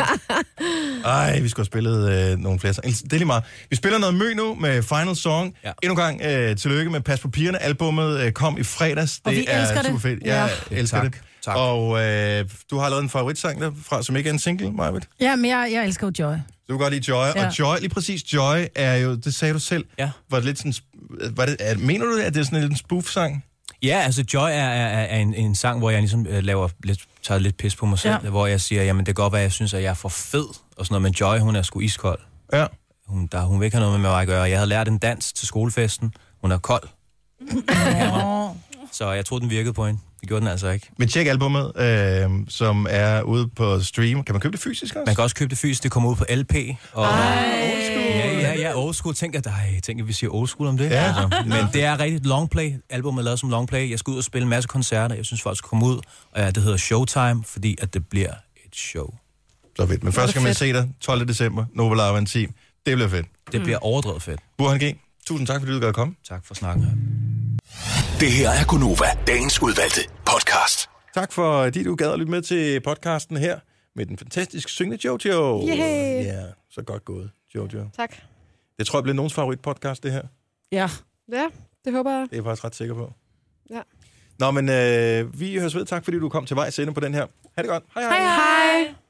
S1: Ej, vi skulle have spillet øh, nogle flere sange. Det er lige meget. Vi spiller noget mø nu med Final Song. Ja. Endnu en gang øh, tillykke med Pas på pigerne. Albummet øh, kom i fredags.
S3: Og vi
S1: er
S3: elsker det.
S1: super fedt.
S3: Ja.
S1: Jeg ja. elsker
S10: Tak,
S1: det. Tak. Og øh, du har lavet en favoritsang derfra, som ikke er en single, Marvitt.
S3: Ja, men jeg, jeg elsker jo Joy.
S1: Du kan godt lide Joy, ja.
S3: Ja.
S1: og Joy, lige præcis Joy er jo, det sagde du selv,
S10: ja.
S1: var det lidt sådan, sp- var det, er, mener du, at det er sådan lidt en spoof-sang?
S10: Ja, altså Joy er, er, er en, en sang, hvor jeg ligesom øh, laver lidt, tager lidt pis på mig selv,
S3: Ja.
S10: ja. hvor jeg siger, jamen det kan godt være, jeg synes, at jeg er for fed, og sådan noget, men Joy, hun er sgu iskold.
S1: Ja.
S10: Hun, der, hun vil ikke have noget med mig at gøre. Jeg havde lært en dans til skolefesten. Hun er kold,
S3: Åh.
S10: så jeg troede, den virkede på hende. Det gjorde den altså ikke.
S1: Men tjek albumet, øh, som er ude på stream. Kan man købe det fysisk også? Ah.
S10: Man kan også købe det fysisk, det kommer ud på LP. Og...
S1: Old school.
S10: Ja, ja, ja, old school. Tænk, at, ej, tænk, at vi siger old school om det. Altså,
S1: Ja.
S10: Men det er rigtigt long play. Albumet er lavet som long play. Jeg skal ud og spille en masse koncerter. Jeg synes, folk skal komme ud. Og ja, det hedder Showtime, fordi at det bliver et show.
S1: Så fedt. Men først skal man se dig 12. december, Nova Lava en Team. Det bliver fedt.
S10: Det bliver overdrevet fedt.
S1: Burhan G., tusind tak, fordi du gad at komme.
S10: Tak for snakken.
S5: Det her er Gunova, dagens udvalgte podcast.
S1: Tak for, at du gad at lytte med til podcasten her med den fantastisk syngende Jojo.
S11: Yay.
S1: Ja, så godt gået, Jojo.
S11: Tak.
S1: Det tror jeg bliver nogens favoritpodcast, det her.
S3: Ja.
S11: Ja, det håber jeg.
S1: Det er jeg faktisk ret sikker på.
S11: Ja.
S1: Nå, men øh, vi høres ved. Tak, fordi du kom til vej sende på den her. Ha' det godt. Hej hej.
S11: Hej.